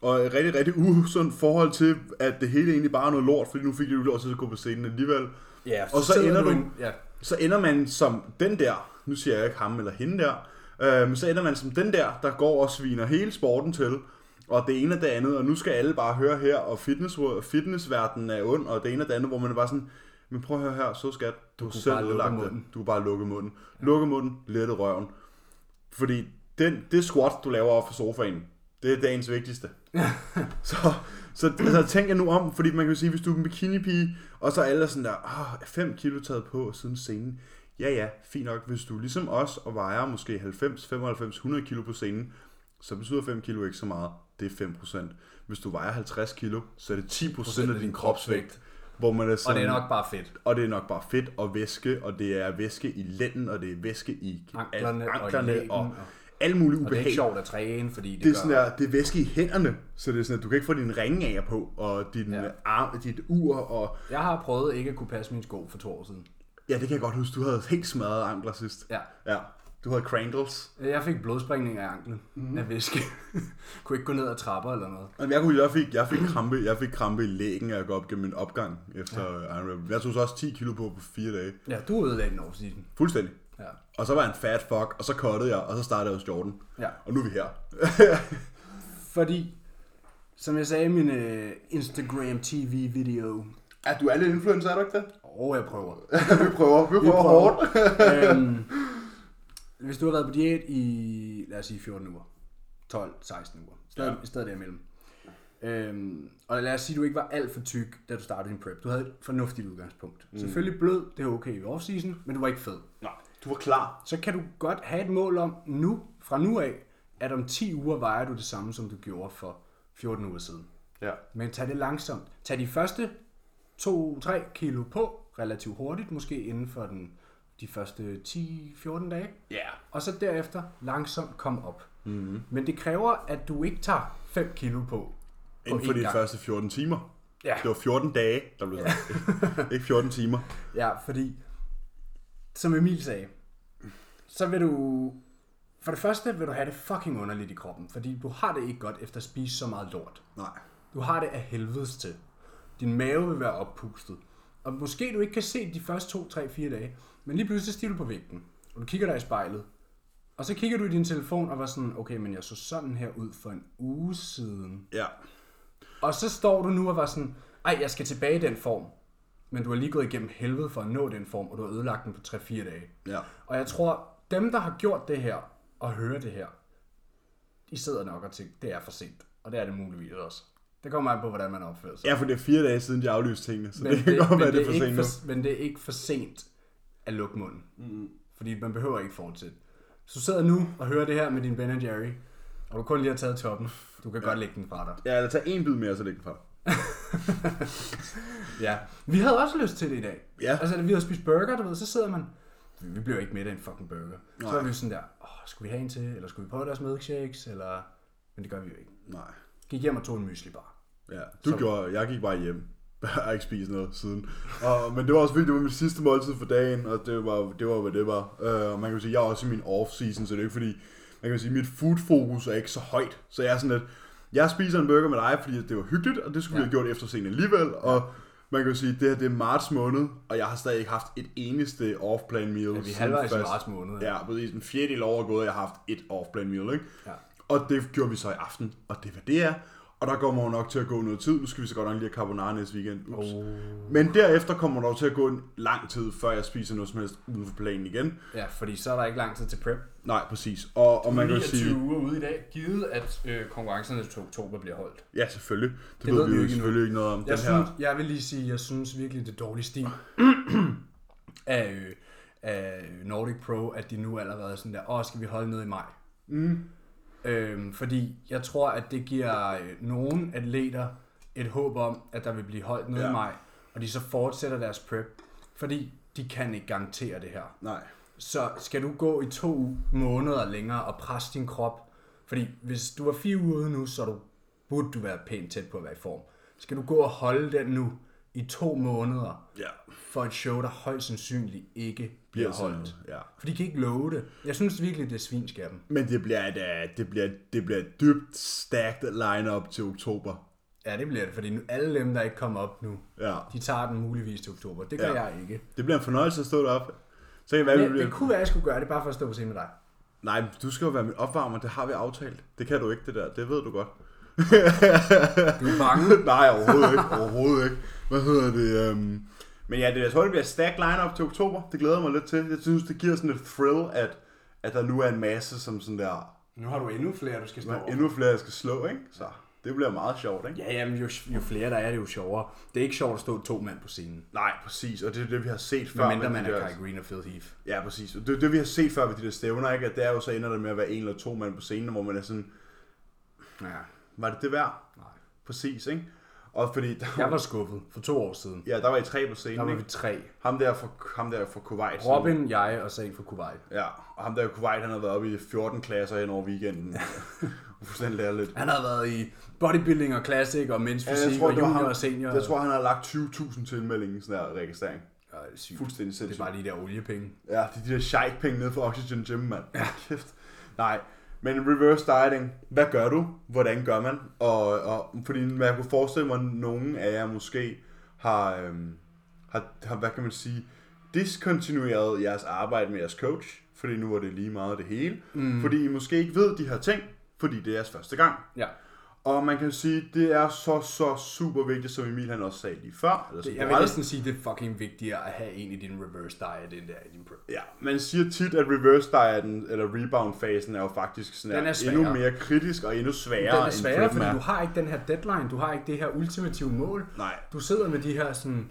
B: og et rigtig, rigtig usundt forhold til, at det hele egentlig bare er noget lort, fordi nu fik du lov til at gå på scenen alligevel.
A: Ja,
B: Og så
A: sidder
B: ender du-
A: i- Ja,
B: Så ender man som den der, nu siger jeg ikke ham eller hende der, øh, men så ender man som den der, der går og sviner hele sporten til, og det ene og det andet, og nu skal alle bare høre her, og fitness, fitnessverdenen er ond, og det ene og det andet, hvor man er bare sådan, men prøv at høre her, så skat, du, har
A: kunne
B: selv
A: bare lukke
B: ødelagt det.
A: munden.
B: Du kan bare lukke munden. Lukke munden, lette røven. Fordi den, det squat, du laver op for sofaen, det er dagens *laughs* vigtigste. så, så altså, tænk jer nu om, fordi man kan jo sige, hvis du er en bikinipige, og så er alle sådan der, åh, 5 kilo taget på siden scenen. Ja, ja, fint nok. Hvis du er ligesom os og vejer måske 90, 95, 100 kilo på scenen, så betyder 5 kilo ikke så meget. Det er 5%. Hvis du vejer 50 kilo, så er det 10% af din kropsvægt. Hvor man er
A: og
B: sådan,
A: det er nok bare fedt.
B: og det er nok bare fedt og væske, og det er væske i lænden, og det er væske i
A: Anklerne og i lænden,
B: anklerne og,
A: og-
B: og alle mulige
A: Og det er
B: ubehag.
A: ikke sjovt at træne, fordi det,
B: det er
A: gør...
B: sådan der, det er væske i hænderne, så det er sådan, at du kan ikke få din ringager på, og din
A: Ja.
B: ja. arm, dit ur, og
A: Jeg har prøvet ikke at kunne passe mine sko for to år siden.
B: ja, det kan jeg godt huske, du havde helt smadret ankler sidst.
A: Ja.
B: ja. Du havde crandles.
A: Jeg fik blodspringning af anklen mm. af væske. *laughs* kunne ikke gå ned ad trapper eller noget.
B: Jamen, Jeg, kunne, jeg, fik, jeg, fik krampe, jeg fik krampe i lægen af at gå op gennem en opgang efter ja. Iron Man. Jeg tog så også 10 kilo på på fire dage.
A: Ja, du ødelagde den oversiden.
B: Fuldstændig.
A: Ja.
B: Og så var jeg en fat fuck, og så cuttede jeg, og så startede jeg hos Jordan.
A: ja.
B: Og nu er vi her.
A: Fordi, som jeg sagde i min øh, Instagram TV-video,
B: Ja, du er lidt influencer, er du ikke det?
A: og jeg prøver.
B: *laughs* vi prøver, vi prøver,
A: *laughs*
B: vi prøver.
A: prøver.
B: hårdt.
A: øhm, hvis du har været på diæt i, lad os sige, 14 uger, 12-16 uger, stadig, ja.
B: Ja.
A: stadig derimellem. Øhm, og lad os sige, at du ikke var alt for tyk, da du startede din prep. Du havde et fornuftigt udgangspunkt. Mm. Selvfølgelig blød, det er okay i off-season, men du var ikke fed.
B: Nej, du var klar.
A: så kan du godt have et mål om nu, fra nu af, at om 10 uger vejer du det samme, som du gjorde for 14 uger siden.
B: Ja.
A: Men tag det langsomt. Tag de første 2-3 kilo på relativt hurtigt, måske inden for den, de første 10-14 dage.
B: Ja.
A: Og så derefter langsomt kom op. Mm-hmm. Men det kræver, at du ikke tager 5 kilo på. på
B: Inden for
A: én
B: de
A: gang.
B: første 14 timer.
A: Ja.
B: Det var 14 dage, der blev *laughs* sagt. Ikke 14 timer.
A: Ja, fordi, som Emil sagde, så vil du... For det første vil du have det fucking underligt i kroppen, fordi du har det ikke godt efter at spise så meget lort.
B: Nej.
A: Du har det af helvedes til. Din mave vil være oppustet. Og måske du ikke kan se de første 2, 3, 4 dage, men lige pludselig stiger du på vægten, og du kigger dig i spejlet. Og så kigger du i din telefon og var sådan, okay, men jeg så sådan her ud for en uge siden.
B: Ja.
A: Og så står du nu og var sådan, ej, jeg skal tilbage i den form. Men du har lige gået igennem helvede for at nå den form, og du har ødelagt den på 3-4 dage.
B: Ja.
A: Og jeg tror, dem, der har gjort det her, og hører det her, de sidder nok og tænker, det er for sent. Og det er det muligvis også. Det kommer an på, hvordan man opfører sig.
B: Ja, for det er fire dage siden, de aflyste tingene, så
A: Men
B: det, kan godt
A: men
B: være, det er for
A: ikke
B: sent nu.
A: Men det er ikke for sent at lukke munden.
B: Mm-hmm.
A: Mm. Fordi man behøver ikke fortsætte. Så du sidder nu og hører det her med din Ben Jerry, og du kun lige har taget toppen. Du kan ja. godt lægge den fra dig.
B: Ja, eller tage en bid mere, så læg den fra dig.
A: Ja. Vi havde også lyst til det i dag.
B: Ja.
A: Altså, da vi havde spist burger, du ved, så sidder man... Vi blev ikke med af en fucking burger. Nej. Så var vi sådan der, åh, skulle vi have en til, eller skulle vi på deres milkshakes, eller... Men det gør vi jo ikke.
B: Nej.
A: Gik hjem og tog en müsli bar.
B: Ja, du så... gjorde, jeg gik bare hjem. *laughs* Jeg har ikke spist noget siden. Og, men det var også fordi, det var min sidste måltid for dagen, og det var, det var hvad det var. Øh, og man kan jo sige, jeg er også i min off-season, så det er ikke fordi, man kan sige, mit food-fokus er ikke så højt. Så jeg er sådan lidt, jeg spiser en burger med dig, fordi det var hyggeligt, og det skulle ja. vi have gjort efter scenen alligevel. Og man kan jo sige, det her det er marts måned, og jeg har stadig ikke haft et eneste off-plan meal.
A: Vi
B: siden
A: er halvvejs i
B: først-
A: marts måned.
B: Ja, præcis. En fjerdedel år er gået, og jeg har haft et off-plan meal, ikke?
A: Ja.
B: Og det gjorde vi så i aften, og det var det er. Og der kommer nok til at gå noget tid. Nu skal vi så godt nok lige have carbonara næste weekend. Ups. Oh. Men derefter kommer der jo til at gå en lang tid, før jeg spiser noget som helst uden for planen igen.
A: ja, fordi så er der ikke lang tid til prep.
B: Nej, præcis. Og, og man kan jo
A: 29
B: sige...
A: uger ude i dag, givet at øh, konkurrencerne til oktober bliver holdt.
B: Ja, selvfølgelig. Det, det ved, vi
A: ikke
B: jo
A: endnu.
B: selvfølgelig ikke noget om.
A: Jeg,
B: Den
A: synes,
B: her,
A: jeg vil lige sige, jeg synes virkelig, det er dårlig stil *clears throat* af, øh, af Nordic Pro, at de nu allerede er sådan der, åh, skal vi holde noget i maj? Mm. Øhm, fordi jeg tror, at det giver øh, nogle atleter et håb om, at der vil blive holdt noget ja.
B: Ja.
A: i maj, og de så fortsætter deres prep, fordi de kan ikke garantere det her.
B: nej.
A: så skal du gå i to måneder længere og presse din krop. Fordi hvis du er fire uger ude nu, så er du, burde du være pænt tæt på at være i form. Skal du gå og holde den nu i to måneder
B: Ja.
A: for et show, der højst sandsynligt ikke bliver
B: Bliver sådan
A: holdt?
B: noget, ja.
A: For de kan ikke love det. Jeg synes virkelig, det er svinsk af dem.
B: Men det bliver et, øh, det bliver, det bliver et dybt stacked lineup til oktober.
A: Ja, det bliver det, fordi nu, alle dem, der ikke kommer op nu,
B: Ja.
A: de tager den muligvis til oktober. Det gør ja.
B: Ja.
A: jeg ikke.
B: Det bliver en fornøjelse at stå deroppe. Så kan det være, vi
A: Men det
B: bliver...
A: kunne være, jeg skulle gøre det, bare for at stå på scenen med dig.
B: Nej, men du skal jo være min opvarmer, det har vi aftalt. Det kan du ikke, det der. Det ved du godt. *laughs*
A: Du er bange.
B: Nej, overhovedet ikke. Overhovedet ikke. Hvad hedder det? Um... Men ja, det, jeg tror, det bliver stack lineup til oktober. Det glæder jeg mig lidt til. Jeg synes, det giver sådan et thrill, at, at der nu er en masse, som sådan der...
A: Nu har du endnu flere, du skal stå
B: Der er endnu flere, jeg skal slå, ikke? Så det bliver meget sjovt, ikke?
A: Ja, jamen, jo, jo flere der er, det jo sjovere. Det er ikke sjovt at stå to mand på scenen.
B: Nej, præcis. Og det er det, vi har set før.
A: Før mindre
B: med
A: man
B: de
A: er
B: der-
A: Kai Green og Phil Heath.
B: Ja, præcis. Og Det er det, vi har set før ved de der stævner, ikke? At det er jo så ender det med at være en eller to mand på scenen, hvor man er sådan...
A: Ja.
B: Var det det værd?
A: Nej.
B: Præcis, ikke? Og fordi... *laughs* Der,
A: Jeg var skuffet for to år siden.
B: ja, der var I tre på
A: Der
B: scenen,
A: var
B: ikke?
A: vi tre.
B: Ham der fra, ham der fra Kuwait. som-
A: Robin, jeg og så en fra Kuwait.
B: Ja, og ham der i Kuwait, han har været oppe i 14 klasser hen over *laughs* weekenden. Fuldstændig lærer lidt.
A: Han har været i bodybuilding og classic og mens
B: Ja,
A: fysik og junior og senior.
B: jeg tror, han har lagt 20.000 til indmeldingen, sådan der registrering.
A: og, og sygt.
B: Fuldstændig
A: Det er
B: sindssygt.
A: bare lige der oliepenge.
B: Ja, det er de der shike-penge nede for Oxygen Gym, mand. Ja. Kæft. Nej, men reverse dieting, hvad gør du? Hvordan gør man? Og, og fordi man kunne forestille mig, at nogen af jer måske har, øhm, har, har, hvad kan man sige, diskontinueret jeres arbejde med jeres coach, fordi nu var det lige meget det hele. Mm. Fordi I måske ikke ved de her ting, fordi det er jeres første gang.
A: Ja.
B: Og man kan sige, det er så, så super vigtigt, som Emil han også sagde lige før. Eller som
A: Jeg
B: du
A: vil
B: aldrig-
A: næsten sige, det er fucking vigtigere at have en i din reverse diet, end det er i din prep.
B: Ja, man siger tit, at reverse dieten, eller rebound-fasen, er jo faktisk sådan
A: Den er sværere.
B: endnu mere kritisk og endnu sværere,
A: Den er sværere,
B: end prep
A: fordi
B: er.
A: du har ikke den her deadline, du har ikke det her ultimative mål.
B: Nej.
A: Du sidder med de her sådan,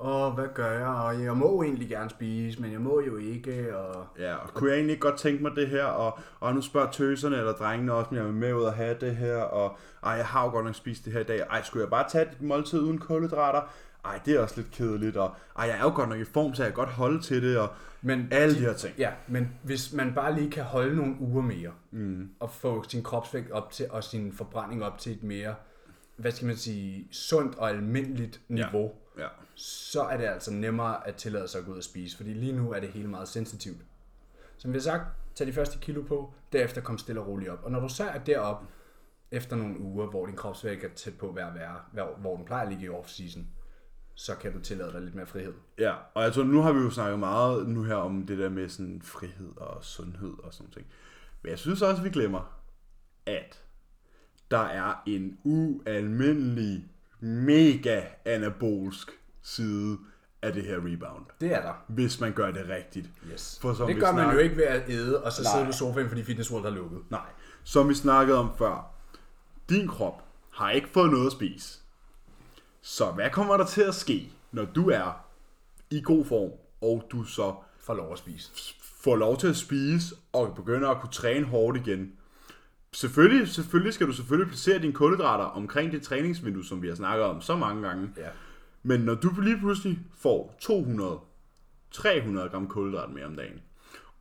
A: åh, hvad gør jeg, og jeg må egentlig gerne spise, men jeg må jo ikke, og...
B: Ja, og kunne jeg egentlig ikke godt tænke mig det her, og, og nu spørger tøserne eller drengene også, om jeg vil med ud og have det her, og ej, jeg har jo godt nok spist det her i dag, ej, skulle jeg bare tage et måltid uden kulhydrater? Ej, det er også lidt kedeligt, og ej, jeg er jo godt nok i form, så jeg kan godt holde til det, og
A: Men
B: alle de, her ting.
A: Ja, men hvis man bare lige kan holde nogle uger mere, mm. og få sin kropsvægt op til, og sin forbrænding op til et mere, hvad skal man sige, sundt og almindeligt niveau,
B: Ja.
A: så er det altså nemmere at tillade sig at gå ud og spise, fordi lige nu er det hele meget sensitivt. Som vi har sagt, tag de første kilo på, derefter kom stille og roligt op. Og når du så er deroppe, efter nogle uger, hvor din kropsvægt er tæt på at være, være, være hvor den plejer at ligge i off-season, så kan du tillade dig lidt mere frihed.
B: Ja, og jeg tror, nu har vi jo snakket meget nu her om det der med sådan frihed og sundhed og sådan ting. Men jeg synes også, vi glemmer, at der er en ualmindelig, mega anabolsk side af det her rebound.
A: Det er der.
B: Hvis man gør det rigtigt.
A: Yes.
B: For som
A: det
B: vi
A: gør man
B: snakker-
A: jo ikke ved at æde, og så
B: Nej.
A: sidde på sofaen, fordi Fitness World har lukket.
B: Nej. Som vi snakkede om før. din krop har ikke fået noget at spise. Så hvad kommer der til at ske, når du er i god form, og du så
A: For lov at spise.
B: får lov til at spise og begynder at kunne træne hårdt igen. Selvfølgelig, selvfølgelig skal du selvfølgelig placere dine kulhydrater omkring det træningsvindue, som vi har snakket om så mange gange.
A: Ja.
B: Men når du lige pludselig får 200-300 gram kulhydrat mere om dagen,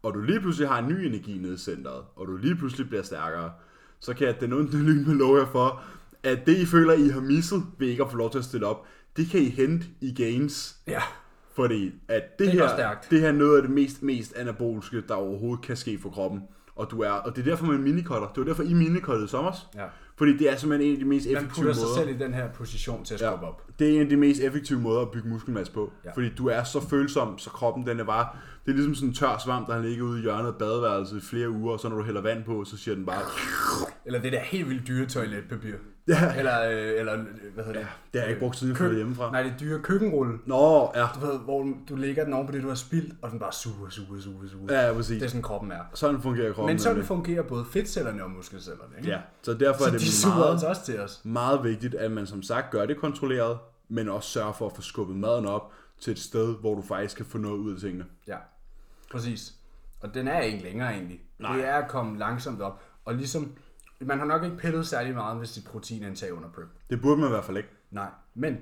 B: og du lige pludselig har en ny energi nede i centret, og du lige pludselig bliver stærkere, så kan jeg den onde lyn med lov jer for, at det I føler, I har misset ved ikke at få lov til at stille op, det kan I hente i gains
A: Ja.
B: fordi at det,
A: Det
B: det,
A: går
B: her,
A: stærkt.
B: det her er noget af det mest, mest anaboliske, der overhovedet kan ske for kroppen. Og, du er, og det er derfor, man minikotter. Det var derfor, I minikottede sommers.
A: Ja.
B: Fordi det er simpelthen en af de mest
A: Man
B: effektive
A: putter sig
B: måder.
A: selv i den her position til at skubbe op.
B: Det er en af de mest effektive måder at bygge muskelmasse på.
A: Ja.
B: Ja. Fordi du er så følsom, så kroppen den er bare... Det er ligesom sådan en tør svamp, der har ligget ude i hjørnet af badeværelset i flere uger, og så når du hælder vand på, så siger den bare...
A: Eller det der helt vildt dyre toiletpapir.
B: Ja.
A: Eller, øh, eller øh, hvad hedder det? Ja,
B: det har jeg ikke brugt siden jeg flyttede hjemmefra.
A: Nej, det er dyre køkkenrulle.
B: Nå, ja.
A: Du ved, hvor du lægger den oven på det, du har spildt, og den bare suger, suger, suger, suger.
B: Ja,
A: Det er
B: præcis.
A: sådan, kroppen er.
B: Sådan fungerer kroppen.
A: Men sådan
B: nemlig.
A: fungerer både fedtcellerne og muskelcellerne, ikke?
B: Ja, så derfor
A: Så
B: er det
A: de suger
B: meget...
A: altså også til os.
B: meget vigtigt, at man som sagt gør det kontrolleret, men også sørger for at få skubbet maden op til et sted, hvor du faktisk kan få noget ud af tingene.
A: Ja, præcis. Og den er ikke længere egentlig. Nej. Det er at komme langsomt op. Og ligesom, man har nok ikke pillet særlig meget ved sit proteinindtag under prep.
B: Det burde man i hvert fald ikke.
A: Nej, men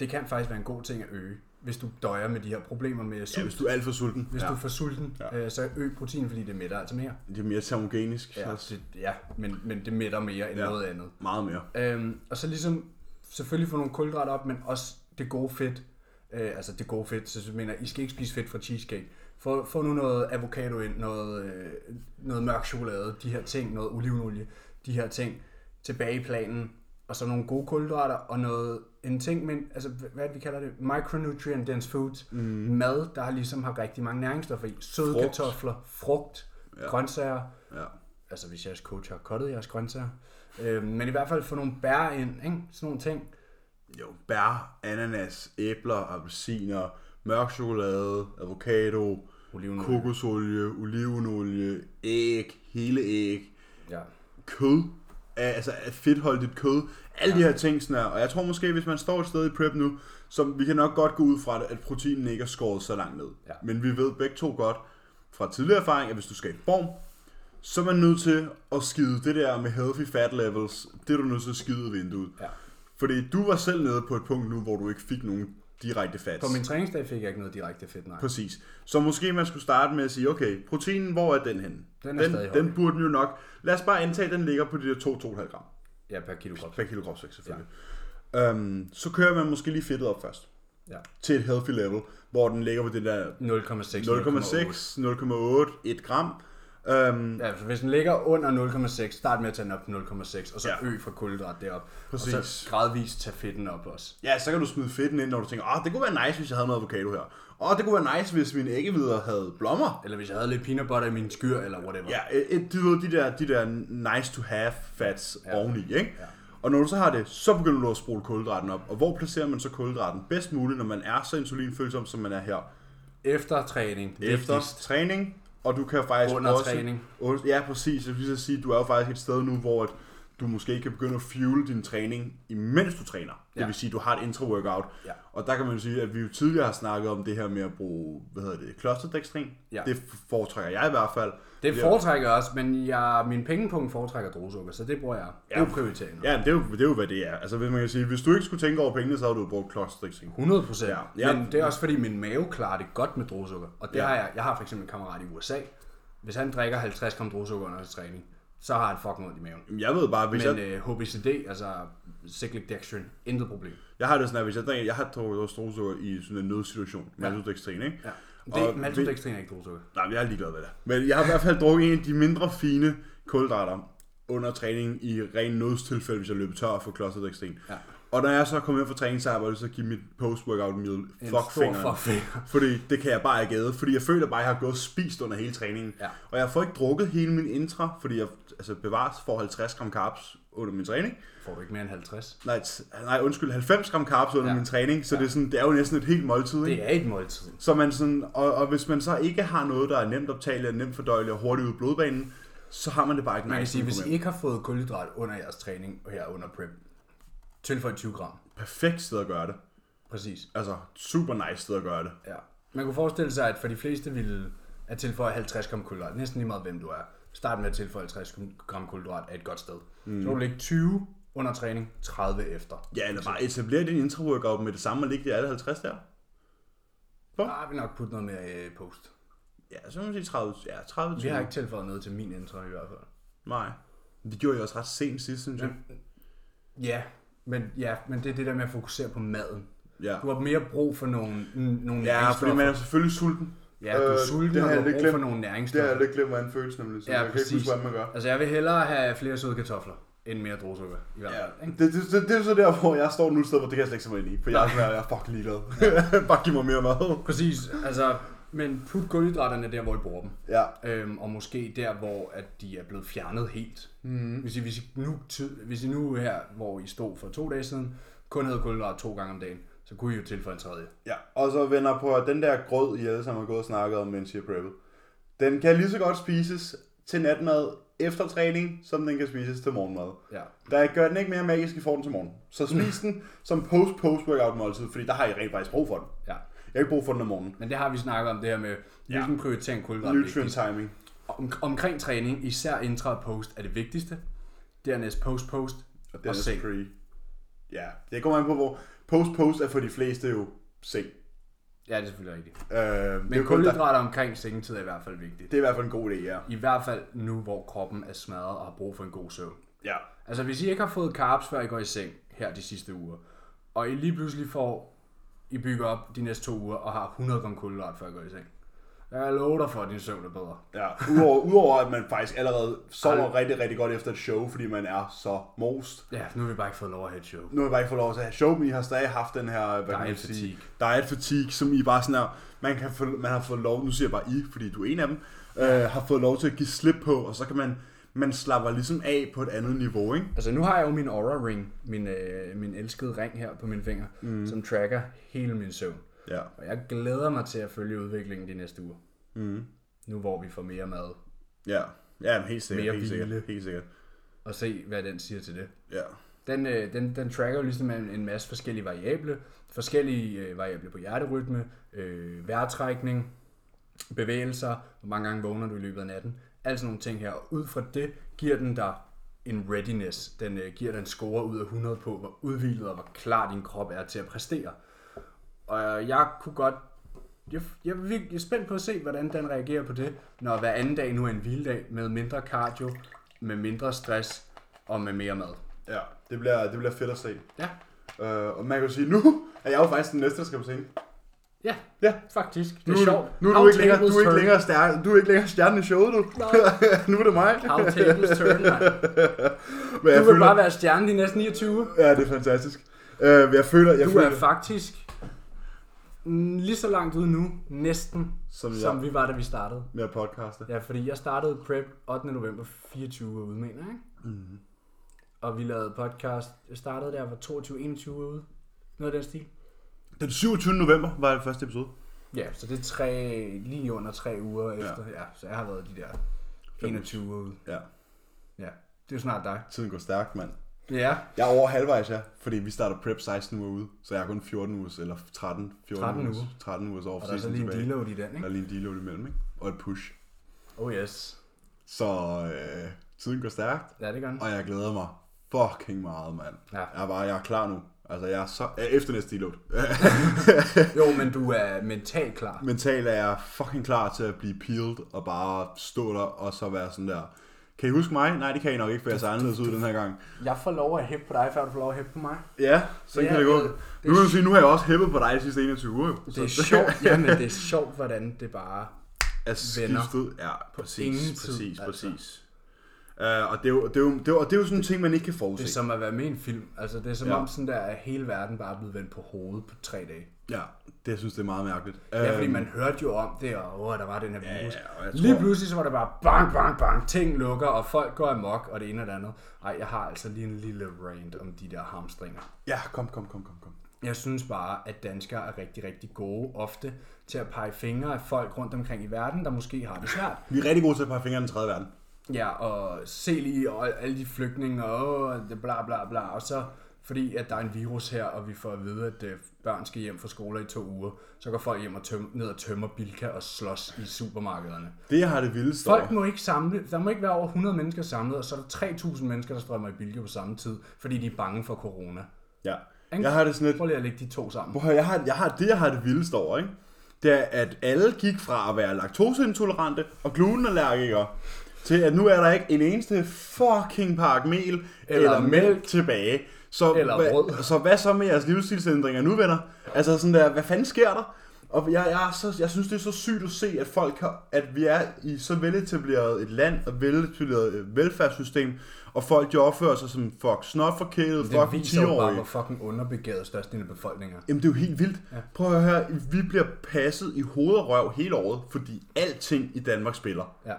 A: det kan faktisk være en god ting at øge, hvis du døjer med de her problemer med sult.
B: Ja, hvis du er alt for sulten.
A: Hvis
B: ja.
A: ja. du er for sulten, ja.
B: Ja.
A: øh, så øg protein, fordi det mætter altså mere.
B: Det er mere termogenisk, ja. så
A: Det, ja, men, men det mætter mere end ja.
B: Ja.
A: noget andet.
B: meget mere.
A: Øhm, og så ligesom selvfølgelig få nogle kulhydrater op, men også det gode fedt. Øh, altså det gode fedt, så jeg mener, I skal ikke spise fedt fra cheesecake. Få, få nu noget avocado ind, noget, øh, noget mørk chokolade, de her ting, noget olivenolie, de her ting tilbage i planen. Og så nogle gode kulhydrater og noget, en ting, men altså, hv- hvad er det, vi kalder det? Micronutrient dense foods. Mm. Mad, der ligesom har rigtig mange næringsstoffer i. Søde frugt.
B: Frugt.
A: kartofler, frugt, ja. grøntsager,
B: Ja.
A: altså hvis jeres coach har kottet jeres grøntsager, øh, men i hvert fald få nogle bær ind, ikke? sådan nogle ting.
B: Jo, bær, ananas, æbler, appelsiner, mørk chokolade, avocado,
A: Olivenolie.
B: kokosolie, olivenolie, æg, hele æg.
A: Ja.
B: kød, af- altså af fedtholdigt kød, alle ja. de her ting sådan her. Og jeg tror måske, hvis man står et sted i prep nu, så vi kan nok godt gå ud fra, det, at proteinen ikke er skåret så langt ned.
A: Ja.
B: Men vi ved begge to godt fra tidligere erfaring, at hvis du skal i form, så er man nødt til at skide det der med healthy fat levels, det er du nødt til at skide ud af vinduet.
A: Ja.
B: Fordi du var selv nede på et punkt nu, hvor du ikke fik nogen direkte fats.
A: På min træningsdag fik jeg ikke noget direkte fedt, nej.
B: Præcis. Så måske man skulle starte med at sige, okay, proteinen, hvor er den henne?
A: Den er
B: den,
A: stadig høj.
B: den burde den jo nok... Lad os bare antage, at den ligger på de der 2-2,5 gram.
A: Ja, per kilo godt.
B: Per kilo kropsvægt selvfølgelig. Ja. Øhm, så kører man måske lige fedtet op først.
A: Ja.
B: Til et healthy level, hvor den ligger på det der
A: 0,6.
B: 0,6, 0,8, 1 gram. Øhm,
A: 0,8. Ja, så hvis den ligger under 0,6, start med at tage den op til 0,6, og så
B: Ja.
A: øg fra kulhydrat derop. Og så
B: Præcis.
A: gradvist tage fedten op også.
B: ja, så kan du smide fedten ind, når du tænker, åh, det kunne være nice, hvis jeg havde noget avocado her. Åh, det kunne være nice, hvis mine æggevidder havde blommer.
A: Eller hvis jeg havde lidt peanut butter i min skyr, eller whatever.
B: Ja, et, de, ved, de, der, de der nice to have fats
A: Ja.
B: ja. oveni, ikke? Ja. Og når du så har det, så begynder du at spole kulhydraten op. Og hvor placerer man så kulhydraten bedst muligt, når man er så insulinfølsom, som man er her?
A: Efter træning.
B: efter
A: vigtigst.
B: træning, og du kan faktisk
A: Under
B: også,
A: træning.
B: Under- Ja, præcis. Jeg vil lige så sige, du er jo faktisk et sted nu, hvor at du måske kan begynde at fuel din træning, imens du træner. Det
A: Ja.
B: vil sige, du har et intra-workout.
A: Ja.
B: Og der kan man jo sige, at vi jo tidligere har snakket om det her med at bruge, hvad hedder det, klosterdextrin.
A: Ja.
B: Det foretrækker jeg i hvert fald.
A: Det foretrækker jeg også, men jeg, min pengepunkt foretrækker druesukker, så det bruger jeg. Ja. Det er prioritering.
B: Ja, det er, jo, det er jo, hvad det er. Altså, hvis man kan sige, hvis du ikke skulle tænke over pengene, så havde du jo brugt klosterdextrin.
A: 100 procent. Ja,
B: Ja,
A: ja.
B: ja.
A: Men det er også fordi, min mave klarer det godt med druesukker. Og det ja.
B: Ja.
A: har jeg. Jeg har for eksempel en kammerat i USA. Hvis han drikker 50 gram druesukker under hans træning, så har han fucking ondt i maven.
B: Jamen, Jeg ved bare, hvis jeg...
A: Men øh, HBCD, altså cyclic dextrin, intet problem.
B: Jeg har det sådan, at hvis jeg drikker, jeg har drukket strosukker i sådan en nødsituation, maltodextrin, ikke?
A: Ja.
B: Og
A: Det, maltodextrin er ikke druesukker.
B: Nej, jeg er ligeglad med det. Men jeg har i hvert fald drukket en af de mindre fine kulhydrater under træning i ren nødstilfælde, hvis jeg løber tør for klosterdextrin.
A: Ja.
B: Og når jeg så kommer hjem fra træning, så har jeg bare lyst til at give mit post-workout meal
A: En
B: fuck
A: stor
B: fingeren.
A: fuckfinger.
B: Fordi det kan jeg bare ikke æde, fordi jeg føler bare, at jeg har gået og spist under hele træningen.
A: Ja.
B: Og jeg får ikke drukket hele min intra, fordi jeg altså, bevares for 50 gram carbs under min træning.
A: Får du ikke mere end 50?
B: Nej, t- nej undskyld, 90 gram carbs under
A: Ja.
B: ja. min træning, så ja. det, er sådan, det er jo næsten et helt måltid. Ikke?
A: Det er et måltid.
B: Så man sådan, og, og hvis man så ikke har noget, der er nemt optageligt, nemt fordøjeligt og hurtigt ud i blodbanen, så har man det bare ikke
A: Man kan
B: nice
A: sige,
B: med
A: hvis I
B: problemet.
A: ikke har fået kulhydrat under jeres træning her under prep, tilføj 20 gram.
B: Perfekt sted at gøre det.
A: Præcis.
B: Altså, super nice sted at gøre det.
A: Ja. Man kunne forestille sig, at for de fleste ville at tilføje 50 gram kulhydrat. Næsten lige meget, hvem du er. Start med at tilføje 50 gram kulhydrat er et godt sted. Mm. Så vil du lægge 20 under træning, 30 efter.
B: Ja, eller bare etablere din intra-workout med det samme og ligge de alle 50 der.
A: Der vil nok putte noget mere øh, post.
B: Ja, så må man sige 30. Ja, 30
A: Vi har ikke tilføjet noget til min intro i hvert fald.
B: Nej. Det gjorde jeg også ret sent sidst, synes jeg.
A: Ja, men, ja, men det er det der med at fokusere på maden.
B: Ja.
A: Du har mere brug for nogle, n- nogle
B: Ja, fordi
A: næringsstoffer.
B: man er selvfølgelig sulten.
A: Ja, du er sulten,
B: det
A: og
B: har
A: du
B: jeg
A: har
B: lidt
A: brug for
B: glemt.
A: nogle
B: Det har
A: næringsstoffer.
B: jeg lidt glemt, hvordan føles nemlig. Så
A: Ja,
B: jeg kan ikke
A: præcis.
B: huske, hvordan man gør.
A: Altså, jeg vil hellere have flere søde kartofler, end mere druesukker, i hvert
B: Ja,
A: fald. ikke?
B: det, det, det, det, er så der, hvor jeg står nu et sted, hvor det kan jeg slet ikke se mig ind i. For jeg er, sådan, her, jeg er fucking *laughs* ligeglad. Bare giv mig mere mad.
A: Præcis, altså, men put kulhydraterne der, hvor I bruger dem.
B: Ja.
A: Øhm, og måske der, hvor at de er blevet fjernet helt.
B: Mm-hmm.
A: Mm. Hvis, I, hvis, I nu, tid- hvis I nu her, hvor I stod for to dage siden, kun havde kulhydrat to gange om dagen, så kunne I jo tilføje en tredje.
B: ja. Og så vender på at den der grød, I alle sammen har gået og snakket om, mens I er preppet. Den kan lige så godt spises til natmad efter træning, som den kan spises til morgenmad.
A: Ja.
B: Der gør den ikke mere magisk, I får den til morgen. *laughs* Så spis den som post-post-workout-måltid, fordi der har I rent faktisk brug for den.
A: ja.
B: Jeg har ikke brug for den om morgenen.
A: Men det har vi snakket om, det her med, hvilken prioritering kulhydrat er vigtigst.
B: Nutrient timing.
A: Om, omkring træning, især intra og post, er det vigtigste. Dernæst post-post og, og
B: Den er
A: seng.
B: pre. Ja, det kommer an på, hvor post-post er for de fleste jo seng.
A: Ja, det er selvfølgelig rigtigt.
B: Øh, det, er
A: Men
B: jo kun, der,
A: kulhydrater omkring sengetid er i hvert fald vigtigt.
B: det er i hvert fald en god idé, ja.
A: I hvert fald nu, hvor kroppen er smadret og har brug for en god søvn.
B: Ja,
A: Altså, hvis I ikke har fået carbs, før I går i seng her de sidste uger, og I lige pludselig får, I bygger op de næste to uger og har 100 gram kulhydrat, før I går i seng. Jeg lover dig for, at din søvn er bedre.
B: ja. Udover, udover at man faktisk allerede sover rigtig, rigtig godt efter et show, fordi man er så most.
A: Ja, nu har vi bare ikke fået lov at have et show.
B: Nu har jeg bare ikke fået lov til at have show, men I har stadig haft den her... Hvad kan man
A: Diet
B: sige,
A: fatigue.
B: Diet fatigue, som I bare sådan her... Man, kan få, man har fået lov, nu siger jeg bare I, fordi du er en af dem, øh, har fået lov til at give slip på, og så kan man... Man slapper ligesom af på et andet niveau, ikke?
A: Altså, nu har jeg jo min Aura Ring, min, øh, min elskede ring her på min finger, mm. som tracker hele min søvn.
B: Ja.
A: Og jeg glæder mig til at følge udviklingen de næste uger. Mm. Nu hvor vi får mere mad,
B: Ja, ja men helt sikkert.
A: Mere
B: helt
A: hvile.
B: sikkert, helt sikkert.
A: og se hvad den siger til det.
B: Ja.
A: Den, øh, den, den tracker jo ligesom en, en masse forskellige variable. Forskellige øh, variable på hjerterytme, øh, vejrtrækning, bevægelser, hvor mange gange vågner du i løbet af natten. Alt sådan nogle ting her. Og ud fra det giver den dig en readiness. Den øh, giver dig en score ud af 100 på, hvor udvildet og hvor klar din krop er til at præstere. Og jeg kunne godt... Jeg, jeg, er virkelig- jeg er spændt på at se, hvordan den reagerer på det, når hver anden dag nu er en hviledag med mindre cardio, med mindre stress og med mere mad.
B: Ja, det bliver, det bliver fedt at se.
A: Ja,
B: Uh, og man kan jo sige, nu er jeg jo faktisk den næste, der skal på scenen.
A: Ja,
B: Ja.
A: faktisk.
B: Nu,
A: Det er sjovt.
B: Nu, er
A: How
B: du ikke længere, du
A: tables
B: er ikke
A: turn.
B: længere, stjerne, du er ikke længere stjernen i showet, du. *laughs* nu er det mig.
A: How tables turn,
B: *laughs*
A: mand.
B: Men jeg
A: Du vil
B: føler,
A: bare være stjerne de næste 29.
B: Ja, det er fantastisk. Uh, jeg føler, jeg
A: Du
B: føler,
A: er faktisk mm, lige så langt ude nu, næsten,
B: Som
A: som,
B: jeg.
A: som vi var, da vi startede.
B: med at podcaste.
A: Ja, fordi jeg startede prep 8. november 24 ude, mener jeg, ikke? Mm-hmm.
B: Mhm.
A: Og vi lavede podcast. Jeg startede der, var 22-21 ude. Noget af den stil.
B: Den 27. november var det første episode.
A: Ja, så det er tre, lige under tre uger efter. Ja, så jeg har været de der 21 uger ude.
B: Ja,
A: Ja, det er jo snart dig.
B: tiden går stærkt, mand.
A: Ja,
B: Jeg er over halvvejs, ja, fordi vi starter prep 16 uger ude, så jeg har kun 14 uger, eller 13, 14
A: 13
B: uger.
A: uger.
B: 13 ugers
A: og der er så
B: off-season
A: lige en
B: tilbage.
A: deload i den,
B: Der
A: ikke?
B: er lige en deload imellem, ikke? Og et push.
A: Oh yes.
B: Så øh, tiden går stærkt.
A: Ja, det gør den.
B: Og jeg glæder mig fucking meget, mand.
A: Ja.
B: Jeg er bare, jeg er klar nu. Altså, jeg er så... øh, Efter næste deload. *laughs*
A: Jo, men du er mentalt klar.
B: Mentalt er jeg fucking klar til at blive peeled og bare stå der og så være sådan der. Kan I huske mig? Nej, det kan I nok ikke, for jeg ser anderledes ud den her gang.
A: Jeg får lov at hæppe på dig, før du får lov at hæppe på mig.
B: Ja, sådan
A: Ja,
B: kan det gå.
A: øh, det er
B: Nu kan du sige, nu har jeg også hæppet på dig de sidste 21 uger. jo. Så
A: Det er sjovt, jamen det er sjovt, hvordan det bare...
B: er
A: venner.
B: skiftet. Ja,
A: ingen
B: præcis,
A: tid,
B: præcis,
A: altså.
B: præcis. Øh, og, det er jo, det er jo, det er jo, og det er jo sådan en ting, man ikke kan
A: Det er
B: forudse.
A: som at være med i en film. Altså det er som
B: Ja.
A: ja. om sådan der, at hele verden bare er blevet vendt på hovedet på tre dage.
B: Ja, det jeg synes det er meget mærkeligt.
A: Ja,
B: Øh,
A: fordi man hørte jo om det, og åh, der var den her
B: ja,
A: virus.
B: og jeg tror-
A: Lige pludselig så var det bare bang, bang, bang, ting lukker, og folk går amok, og det ene og det andet. Ej, jeg har altså lige en lille rant om de der hamstringer.
B: ja, kom, kom, kom, kom, kom.
A: Jeg synes bare, at danskere er rigtig, rigtig gode ofte til at pege fingre af folk rundt omkring i verden, der måske har det svært.
B: Vi er rigtig gode til at pege fingre i den tredje verden.
A: Ja, og se lige og alle de flygtninge og det bla bla bla, og så fordi at der er en virus her, og vi får at vide, at øh, børn skal hjem fra skoler i to uger, så går folk hjem og tøm, ned og tømmer Bilka og slås i supermarkederne.
B: Det jeg har det vildeste over.
A: Folk må ikke samle, der må ikke være over 100 mennesker samlet, og så er der 3.000 mennesker, der strømmer i Bilka på samme tid, fordi de er bange for corona.
B: Ja.
A: Ikke?
B: Jeg har det sådan lidt,
A: Prøv lige at lægge de to sammen.
B: Prøv at høre, jeg har, jeg har det, jeg har det vildeste over, ikke? Det er, at alle gik fra at være laktoseintolerante og glutenallergikere, til at nu er der ikke en eneste fucking pakke mel eller, eller mælk,
A: mælk.
B: tilbage. Så,
A: Eller
B: hvad,
A: brød.
B: så hvad så med jeres livsstilsændringer nu, venner? Altså sådan der, hvad fanden sker der? Og jeg, jeg, er så, jeg synes, det er så sygt at se, at folk har, at vi er i så veletableret et land og veletableret øh, velfærdssystem, og folk de opfører sig som fuck snotforkælet,
A: Det
B: fuck
A: viser jo bare,
B: 10-årige.
A: hvor fucking underbegavet størstedelen af befolkningen er.
B: Jamen det er jo helt vildt. Ja. Prøv at høre, vi bliver passet i hoved og røv hele året, fordi alting i Danmark spiller.
A: Ja.